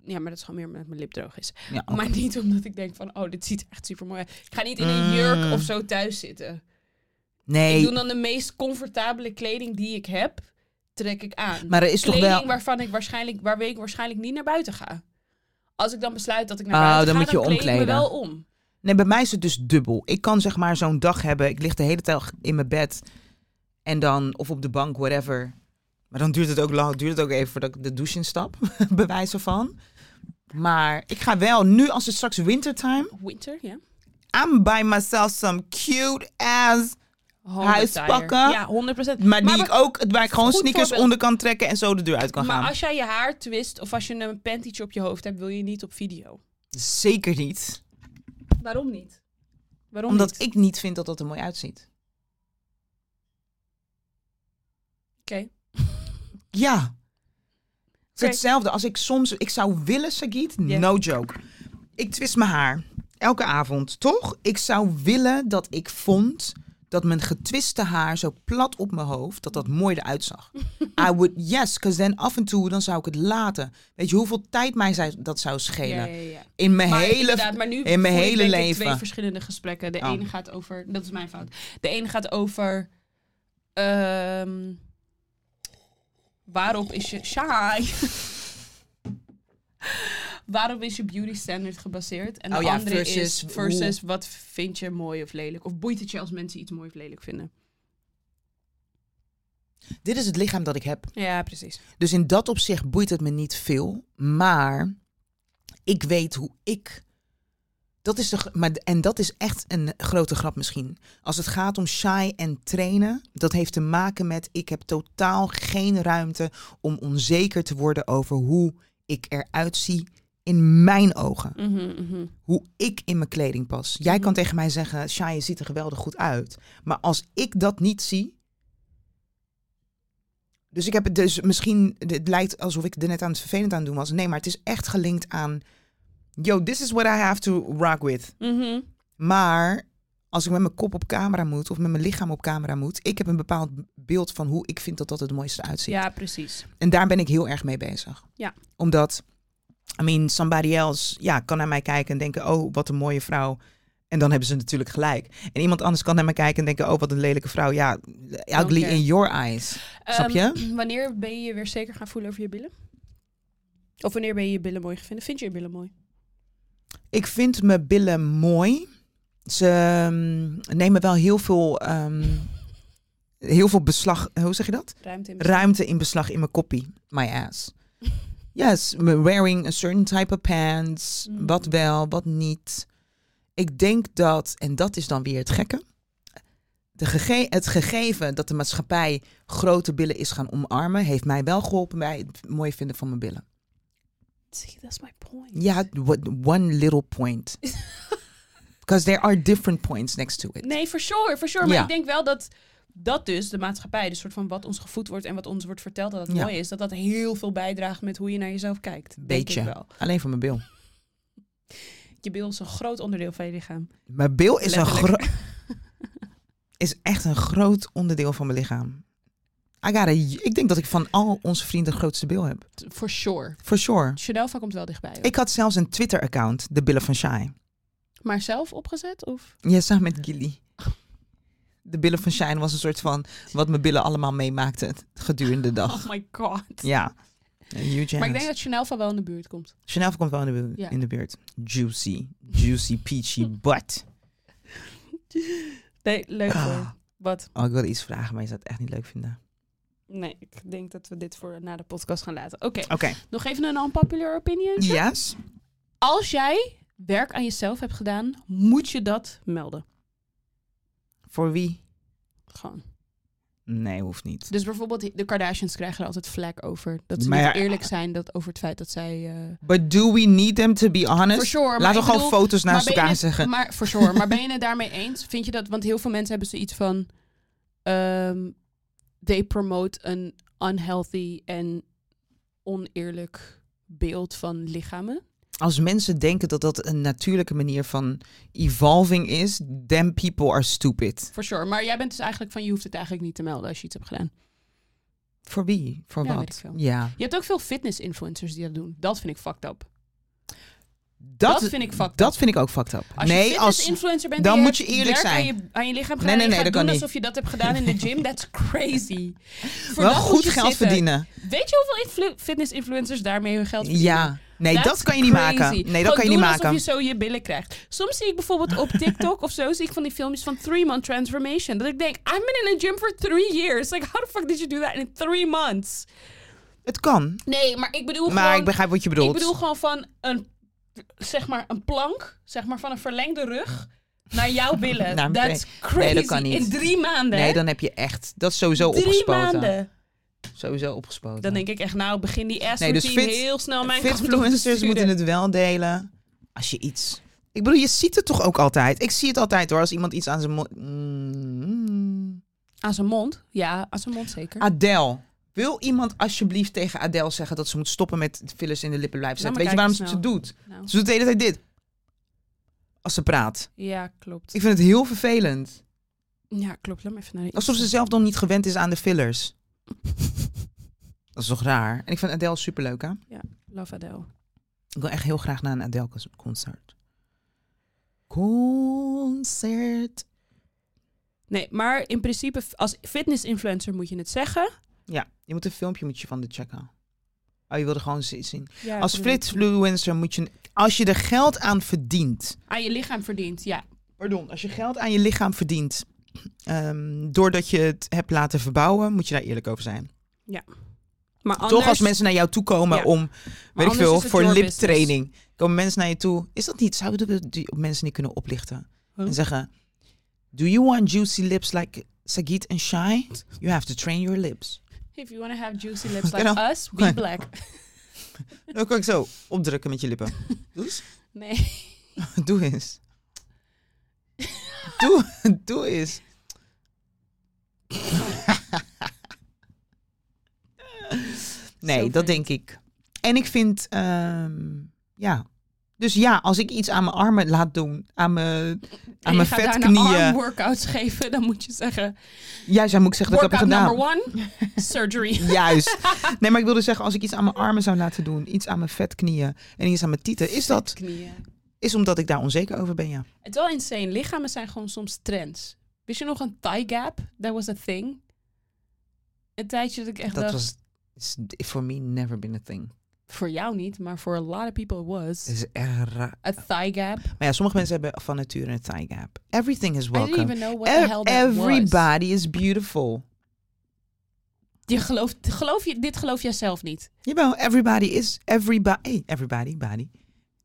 S1: Ja, maar dat is gewoon meer omdat mijn lip droog is.
S2: Ja, ook.
S1: Maar niet omdat ik denk van, oh, dit ziet er echt super mooi uit. Ik ga niet in een jurk
S2: Mm.
S1: of zo thuis zitten.
S2: nee,
S1: Ik doe dan de meest comfortabele kleding die ik heb, trek ik aan.
S2: maar er is toch
S1: kleding
S2: wel...
S1: waarvan ik waarschijnlijk, waarmee ik waarschijnlijk niet naar buiten ga. Als ik dan besluit dat ik naar
S2: Oh,
S1: buiten
S2: dan
S1: ga,
S2: moet je
S1: dan kleed ik me
S2: omkleden.
S1: wel om.
S2: Nee, bij mij is het dus dubbel. Ik kan zeg maar zo'n dag hebben. Ik lig de hele tijd in mijn bed. En dan, of op de bank, whatever. Maar dan duurt het ook lang. Duurt het ook even voordat ik de douche instap. bij wijze van. Maar ik ga wel nu, als het straks wintertime.
S1: Winter, ja.
S2: I'm buy myself some cute ass. Huispakken.
S1: Ja, 100 procent.
S2: Maar die ik ook, waar ik gewoon
S1: Goed
S2: sneakers
S1: voorbeeld.
S2: onder kan trekken en zo de deur uit kan
S1: Maar
S2: gaan.
S1: als jij je haar twist of als je een pantytje op je hoofd hebt, wil je niet op video.
S2: Zeker niet.
S1: Waarom niet? Waarom
S2: Omdat
S1: niet?
S2: ik niet vind dat dat er mooi uitziet.
S1: Oké.
S2: Ja. Het is
S1: Oké.
S2: hetzelfde als ik soms... Ik zou willen, Sagit,
S1: Ja.
S2: no joke. Ik twist mijn haar. Elke avond, toch? Ik zou willen dat ik vond dat mijn getwiste haar zo plat op mijn hoofd, dat dat mooi eruit zag. I would, yes, because then af en toe, dan zou ik het laten. Weet je hoeveel tijd mij zij- dat zou schelen?
S1: Ja, ja, ja.
S2: In mijn
S1: Maar
S2: hele...
S1: inderdaad, maar nu
S2: in mijn
S1: voer ik
S2: hele
S1: denk ik
S2: leven.
S1: twee verschillende gesprekken. De
S2: Oh.
S1: ene gaat over, dat is mijn fout. De ene gaat over ehm, waarop is je shy? waarop is je beauty standard gebaseerd? En de
S2: Oh ja,
S1: andere
S2: versus
S1: is versus wat vind je mooi of lelijk? Of boeit het je als mensen iets mooi of lelijk vinden?
S2: Dit is het lichaam dat ik heb.
S1: Ja, precies.
S2: Dus in dat opzicht boeit het me niet veel. Maar ik weet hoe ik. Dat is de, gr- maar, en dat is echt een grote grap misschien. Als het gaat om shy en trainen, dat heeft te maken met ik heb totaal geen ruimte om onzeker te worden over hoe ik eruit zie in mijn ogen.
S1: Mhm, mhm.
S2: Hoe ik in mijn kleding pas. Jij kan
S1: Mhm.
S2: tegen mij zeggen, Shai, je ziet er geweldig goed uit. Maar als ik dat niet zie. Dus ik heb het dus misschien, het lijkt alsof ik er net aan het vervelend aan doen was. Nee, maar het is echt gelinkt aan, yo, this is what I have to rock with.
S1: Mhm.
S2: Maar als ik met mijn kop op camera moet of met mijn lichaam op camera moet, ik heb een bepaald beeld van hoe ik vind dat dat het mooiste uitziet.
S1: Ja, precies.
S2: En daar ben ik heel erg mee bezig.
S1: Ja.
S2: Omdat, I mean, somebody else ja, kan naar mij kijken en denken, oh, wat een mooie vrouw. En dan hebben ze natuurlijk gelijk. En iemand anders kan naar mij kijken en denken, oh, wat een lelijke vrouw. Ja, ugly
S1: care.
S2: in your eyes. Snap je?
S1: Ehm, wanneer ben je je weer zeker gaan voelen over je billen? Of wanneer ben je je billen mooi gevonden? Vind je je billen mooi?
S2: Ik vind mijn billen mooi. Ze ehm, nemen wel heel veel, ehm, heel veel beslag, hoe zeg je dat?
S1: Ruimte in
S2: ruimte in beslag in mijn koppie. My ass. Yes, m- wearing a certain type of pants.
S1: Mm.
S2: Wat wel, wat niet. Ik denk dat, en dat is dan weer het gekke. De gege- het gegeven dat de maatschappij grote billen is gaan omarmen, heeft mij wel geholpen bij het mooi vinden van mijn billen.
S1: See, that's my point.
S2: Ja, what- one little point. Because there are different points next to it.
S1: Nee, for sure, for sure. Maar
S2: Ja.
S1: ik denk wel dat dat dus, de maatschappij, de soort van wat ons gevoed wordt en wat ons wordt verteld dat het
S2: Ja.
S1: mooi is, dat dat heel veel bijdraagt met hoe je naar jezelf kijkt. Denk ik
S2: Beetje.
S1: wel.
S2: Alleen van mijn bil.
S1: Je bil is een groot onderdeel van je lichaam.
S2: Mijn bil is, een gro-
S1: Letterlijk.
S2: is echt een groot onderdeel van mijn lichaam. I got a- ik denk dat ik van al onze vrienden de grootste bil heb.
S1: For sure.
S2: For sure.
S1: Chanelva komt wel dichtbij. hoor.
S2: Ik had zelfs een Twitter-account, de Billen van Shai.
S1: Maar zelf opgezet? Of?
S2: Ja, samen met Gilly. De Billen van Shai was een soort van wat mijn billen allemaal meemaakten gedurende de dag.
S1: Oh my god.
S2: Ja. Een Huge
S1: Maar ik
S2: ass.
S1: denk dat Chanelva wel in de buurt komt.
S2: Chanel komt wel in de, bu-
S1: Ja.
S2: in de buurt. Juicy. Juicy peachy butt.
S1: Nee, leuk hoor.
S2: Ah.
S1: Wat?
S2: Oh, ik wilde iets vragen, maar je zou het echt niet leuk vinden.
S1: Nee, ik denk dat we dit voor na de podcast gaan laten. Oké,
S2: Oké.
S1: nog even een unpopular opinion.
S2: Yes?
S1: Als jij werk aan jezelf hebt gedaan, moet je dat melden.
S2: Voor wie?
S1: Gewoon.
S2: Nee, hoeft niet.
S1: Dus bijvoorbeeld de Kardashians krijgen er altijd flag over. Dat ze
S2: Maar
S1: niet
S2: ja-
S1: eerlijk zijn dat over het feit dat zij... eh
S2: But do we need them to be honest?
S1: for sure. maar
S2: Laten we
S1: ik
S2: gewoon
S1: bedoel,
S2: foto's
S1: maar
S2: naast
S1: ben
S2: elkaar
S1: je-
S2: zeggen.
S1: Maar for sure. maar ben je het daarmee eens? Vind je dat? Want heel veel mensen hebben zoiets van. ehm they promote een unhealthy en oneerlijk beeld van lichamen.
S2: Als mensen denken dat dat een natuurlijke manier van evolving is, then people are stupid.
S1: For sure. Maar jij bent dus eigenlijk van je hoeft het eigenlijk niet te melden als je iets hebt gedaan.
S2: Voor wie? Voor
S1: Ja, weet ik
S2: wat?
S1: veel.
S2: Ja.
S1: Je hebt ook veel fitness influencers die dat doen. Dat vind ik fucked up.
S2: Dat,
S1: Dat vind ik fucked
S2: Dat vind ik ook fucked up.
S1: Als
S2: nee,
S1: je
S2: als
S1: influencer bent,
S2: dan
S1: en
S2: moet
S1: hebt
S2: je eerlijk
S1: werk
S2: zijn.
S1: Aan je, aan je lichaam gedaan,
S2: Nee, nee,
S1: en je
S2: nee,
S1: gaat
S2: dat
S1: doen
S2: kan
S1: alsof je dat hebt gedaan in de gym. That's crazy. Voor
S2: wel
S1: dat moet
S2: goed
S1: je
S2: geld
S1: zitten.
S2: verdienen.
S1: Weet je hoeveel influ- fitness influencers daarmee hun geld verdienen?
S2: Ja. Nee,
S1: That's
S2: dat kan je niet
S1: crazy.
S2: maken. Nee, dat
S1: Gewoon
S2: kan je niet
S1: doen
S2: maken.
S1: alsof je zo je billen krijgt. Soms zie ik bijvoorbeeld op TikTok of zo... zie ik van die filmpjes van Three Month Transformation. Dat ik denk, I've been in a gym for three years. Like, how the fuck did you do that in three months?
S2: Het kan.
S1: Nee, maar ik bedoel
S2: Maar
S1: gewoon...
S2: ik begrijp wat je
S1: ik
S2: bedoelt.
S1: bedoel gewoon van een, zeg maar een plank, zeg maar van een verlengde rug... naar jouw billen.
S2: Naar mijn
S1: That's crazy.
S2: Nee, dat kan niet.
S1: In drie maanden.
S2: nee,
S1: hè?
S2: dan heb je echt. Dat is sowieso
S1: drie
S2: opgespoten.
S1: maanden.
S2: Sowieso opgespoten.
S1: Dan denk ik echt, nou, begin die ass
S2: Nee, dus
S1: routine
S2: fit-
S1: heel snel mijn kant op te
S2: Fitfluencers
S1: sturen.
S2: moeten het wel delen. Als je iets. Ik bedoel, je ziet het toch ook altijd. Ik zie het altijd hoor. Als iemand iets aan zijn mond. Mm.
S1: Aan zijn mond? Ja, aan zijn mond zeker.
S2: Ah. Adele. Wil iemand alsjeblieft tegen Adele zeggen dat ze moet stoppen met fillers in de lippen blijven
S1: Laat
S2: zetten? Weet je
S1: maar
S2: waarom ze
S1: kijken
S2: het doet?
S1: Nou,
S2: Ze doet de hele tijd dit. Als ze praat.
S1: ja, klopt.
S2: Ik vind het heel vervelend.
S1: Ja, klopt. Laat me even naar de
S2: Alsof ze zelf dan niet gewend is aan de fillers. Dat is toch raar? En ik vind Adele superleuk, hè?
S1: Love Adele.
S2: Ik wil echt heel graag naar een Adele cons- concert. Concert.
S1: Nee, maar in principe, f- als fitness-influencer moet je het zeggen.
S2: Ja, je moet een filmpje moet je van de checken. Oh, je wilde gewoon ze- zien.
S1: Ja,
S2: Als
S1: bedoel-
S2: flitfluencer moet je... Als je er geld aan verdient...
S1: Aan je lichaam verdient, ja.
S2: Pardon, als je geld aan je lichaam verdient... ehm, doordat je het hebt laten verbouwen, moet je daar eerlijk over zijn.
S1: Maar anders,
S2: Toch als mensen naar jou toe komen
S1: Ja.
S2: om, weet ik
S1: anders
S2: veel,
S1: is het
S2: voor
S1: your
S2: liptraining. Komen mensen naar je toe. Is dat niet, zouden we die mensen niet kunnen oplichten?
S1: Huh?
S2: En zeggen, do you want juicy lips like Sagit and Shai? You have to train your lips.
S1: If you want to have juicy lips
S2: Oké nou.
S1: like
S2: dan.
S1: us, be
S2: Oké.
S1: black.
S2: Dan kan ik zo opdrukken met je lippen. Doe eens.
S1: Nee.
S2: Doe eens. Doe, doe eens. nee,
S1: Zo vreemd.
S2: dat denk ik. En ik vind, ehm, ja. Dus ja, als ik iets aan mijn armen laat doen, aan mijn,
S1: En
S2: aan mijn
S1: je gaat daarna arm
S2: vetknieën.
S1: workouts geven, dan moet je zeggen...
S2: Juist, dan moet ik zeggen dat ik
S1: Workout
S2: dat heb
S1: number
S2: gedaan.
S1: one, surgery.
S2: Juist. Nee, maar ik wilde zeggen, als ik iets aan mijn armen zou laten doen, iets aan mijn vetknieën en iets aan mijn tieten, is dat
S1: Knieën.
S2: is omdat ik daar onzeker over ben, ja.
S1: Het is wel insane. Lichamen zijn gewoon soms trends. Wist je nog een thigh gap? That was a thing. Een tijdje dat ik echt
S2: Dat
S1: dacht...
S2: was, is for me never been a thing.
S1: Voor jou niet, maar voor a lot of people it was.
S2: Het is erg raar.
S1: A thigh gap.
S2: Maar ja, sommige mensen hebben van nature een thigh gap. Everything is
S1: I didn't
S2: welcome.
S1: even know what the
S2: Ev-
S1: hell that was.
S2: Everybody is beautiful.
S1: Je gelooft, geloof je, dit geloof jij zelf niet.
S2: Jawel, everybody is everybody. Everybody, body.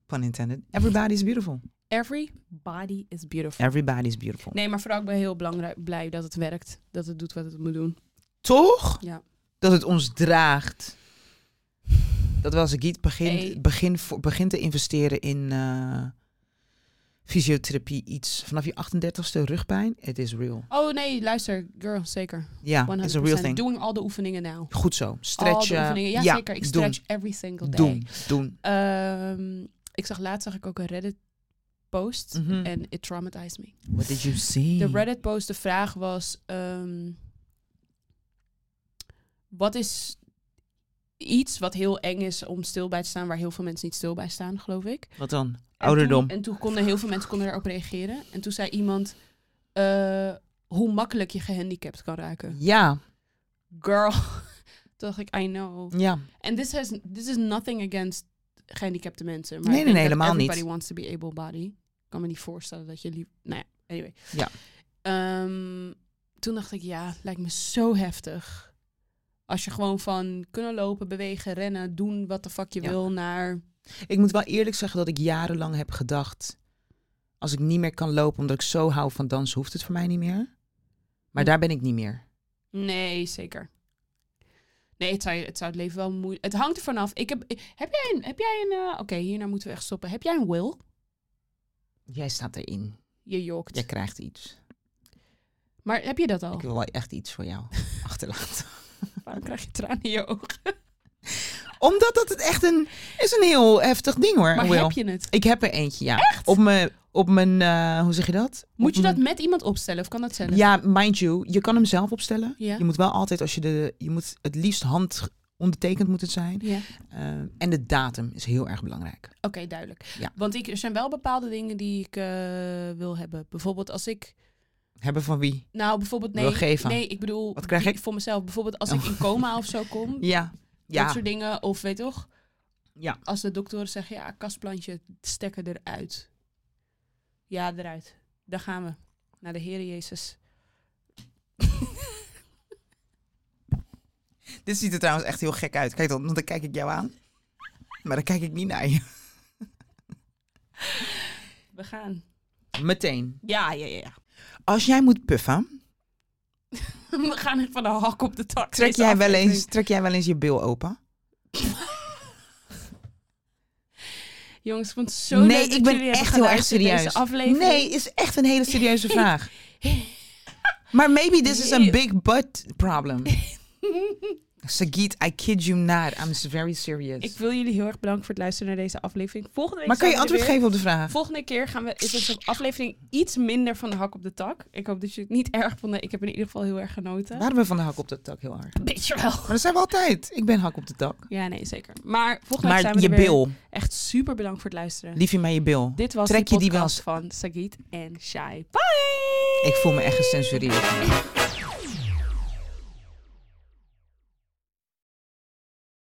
S2: Pun intended. Everybody is beautiful.
S1: Everybody is beautiful.
S2: Everybody is beautiful.
S1: Nee, maar vooral ik ben heel belangrijk, blij dat het werkt. Dat het doet wat het moet doen.
S2: Toch?
S1: Ja.
S2: Dat het ons draagt. Dat was ik niet begin,
S1: Hey.
S2: begin, voor- begin te investeren in eh, fysiotherapie iets. Vanaf je 38ste rugpijn, it is real.
S1: Oh nee, luister, girl, zeker. 100%.
S2: Ja, it's Ah, a real thing.
S1: Doing al de oefeningen now.
S2: Goed zo.
S1: Al de
S2: Stretchen.
S1: oefeningen. Ja, zeker. Ik
S2: doen.
S1: stretch every single day.
S2: Doen, doen.
S1: Ehm, ik zag laatst zag ik ook een Reddit post. En
S2: Mhm.
S1: it traumatized me.
S2: What did you see?
S1: De Reddit post, de vraag was... ehm, wat is iets wat heel eng is om stil bij te staan... waar heel veel mensen niet stil bij staan, geloof ik.
S2: Wat dan?
S1: En
S2: Ouderdom.
S1: toen- en toen konden heel veel mensen konden daarop reageren. En toen zei iemand... eh, hoe makkelijk je gehandicapt kan raken.
S2: Ja,
S1: Girl. toen dacht ik, I know.
S2: ja.
S1: En this, has, this is nothing against gehandicapte mensen. Maar
S2: Nee,
S1: ik
S2: nee,
S1: denk
S2: nee,
S1: dat
S2: helemaal niet.
S1: everybody wants to be able-body. Ik kan me niet voorstellen dat je lief... Nou ja, Anyway.
S2: Ja.
S1: Ehm, toen dacht ik, ja, het lijkt me zo heftig. Als je gewoon van kunnen lopen, bewegen, rennen, doen wat de fuck je
S2: Ja.
S1: wil naar...
S2: Ik moet wel eerlijk zeggen dat ik jarenlang heb gedacht... als ik niet meer kan lopen omdat ik zo hou van dansen, hoeft het voor mij niet meer. Maar
S1: Hm.
S2: daar ben ik niet meer.
S1: Nee, zeker. Nee, het zou, je- het zou het leven wel moeilijk... Het hangt er vanaf. Ik heb, heb jij een... Heb jij een eh, Oké, hierna moeten we echt stoppen. Heb jij een will?
S2: Jij staat erin.
S1: Je jokt.
S2: Jij krijgt iets.
S1: Maar heb je dat al?
S2: Ik wil wel echt iets voor jou achterlaten.
S1: Waarom krijg je tranen in je ogen?
S2: Omdat dat het echt een... is een heel heftig ding hoor,
S1: Maar
S2: Will.
S1: heb je het?
S2: Ik heb er eentje, ja. Op mijn... Op mijn eh, hoe zeg je dat?
S1: Moet
S2: Op
S1: je dat
S2: mijn-
S1: met iemand opstellen of kan dat zelf?
S2: Ja, mind you, je kan hem zelf opstellen.
S1: Ja.
S2: Je moet wel altijd, als je de, je moet het liefst hand ondertekend moet het zijn.
S1: Ja.
S2: Eh, en de datum is heel erg belangrijk.
S1: Oké, duidelijk.
S2: Ja.
S1: Want ik, er zijn wel bepaalde dingen die ik eh, wil hebben. Bijvoorbeeld als ik...
S2: Hebben van wie?
S1: Nou, bijvoorbeeld nee.
S2: Wil geven.
S1: Nee, ik bedoel...
S2: Wat krijg
S1: die-
S2: ik?
S1: Voor mezelf. Bijvoorbeeld als
S2: Oh.
S1: ik in coma of zo kom.
S2: Ja.
S1: Dat
S2: Ja.
S1: soort dingen. Of weet toch?
S2: Ja.
S1: Als de doktoren zeggen, ja, kastplantje, stekker eruit. Ja, eruit. Daar gaan we. Naar de Heer Jezus.
S2: Dit ziet er trouwens echt heel gek uit. Kijk dan, want dan kijk ik jou aan. Maar dan kijk ik niet naar je.
S1: We gaan.
S2: Meteen.
S1: Ja, ja, ja. ja.
S2: Als jij moet puffen,
S1: We gaan echt van de hak op de tak.
S2: trek
S1: deze
S2: jij, wel
S1: aflevering.
S2: eens, trek jij wel eens je bil open?
S1: Jongens, ik vond het zo
S2: nee,
S1: leuk dat
S2: ik ben
S1: jullie hebben
S2: echt heel erg
S1: geluisterd,
S2: serieus.
S1: Deze aflevering.
S2: Nee, is echt een hele serieuze vraag. Maar maybe this is a big butt problem. Sagit, I kid you not. I'm very serious.
S1: Ik wil jullie heel erg bedanken voor het luisteren naar deze aflevering. Volgende week
S2: maar kan je
S1: zijn we er
S2: antwoord
S1: weer.
S2: geven op de vraag?
S1: Volgende keer gaan we, is onze aflevering iets minder van de hak op de tak. Ik hoop dat jullie het niet erg vonden. Ik heb in ieder geval heel erg genoten.
S2: Waarom we van de hak op de tak heel hard? Maar
S1: Beetje wel.
S2: dat zijn we altijd. Ik ben hak op de tak.
S1: Ja, nee, zeker. Maar volgende week zijn
S2: Maar
S1: we
S2: je
S1: er weer.
S2: bil,
S1: Echt super bedankt voor het luisteren.
S2: liefje mij je bil.
S1: Dit was
S2: Trek
S1: de
S2: je die
S1: podcast van Sagit en Shai. Bye!
S2: Ik voel me echt gecensureerd.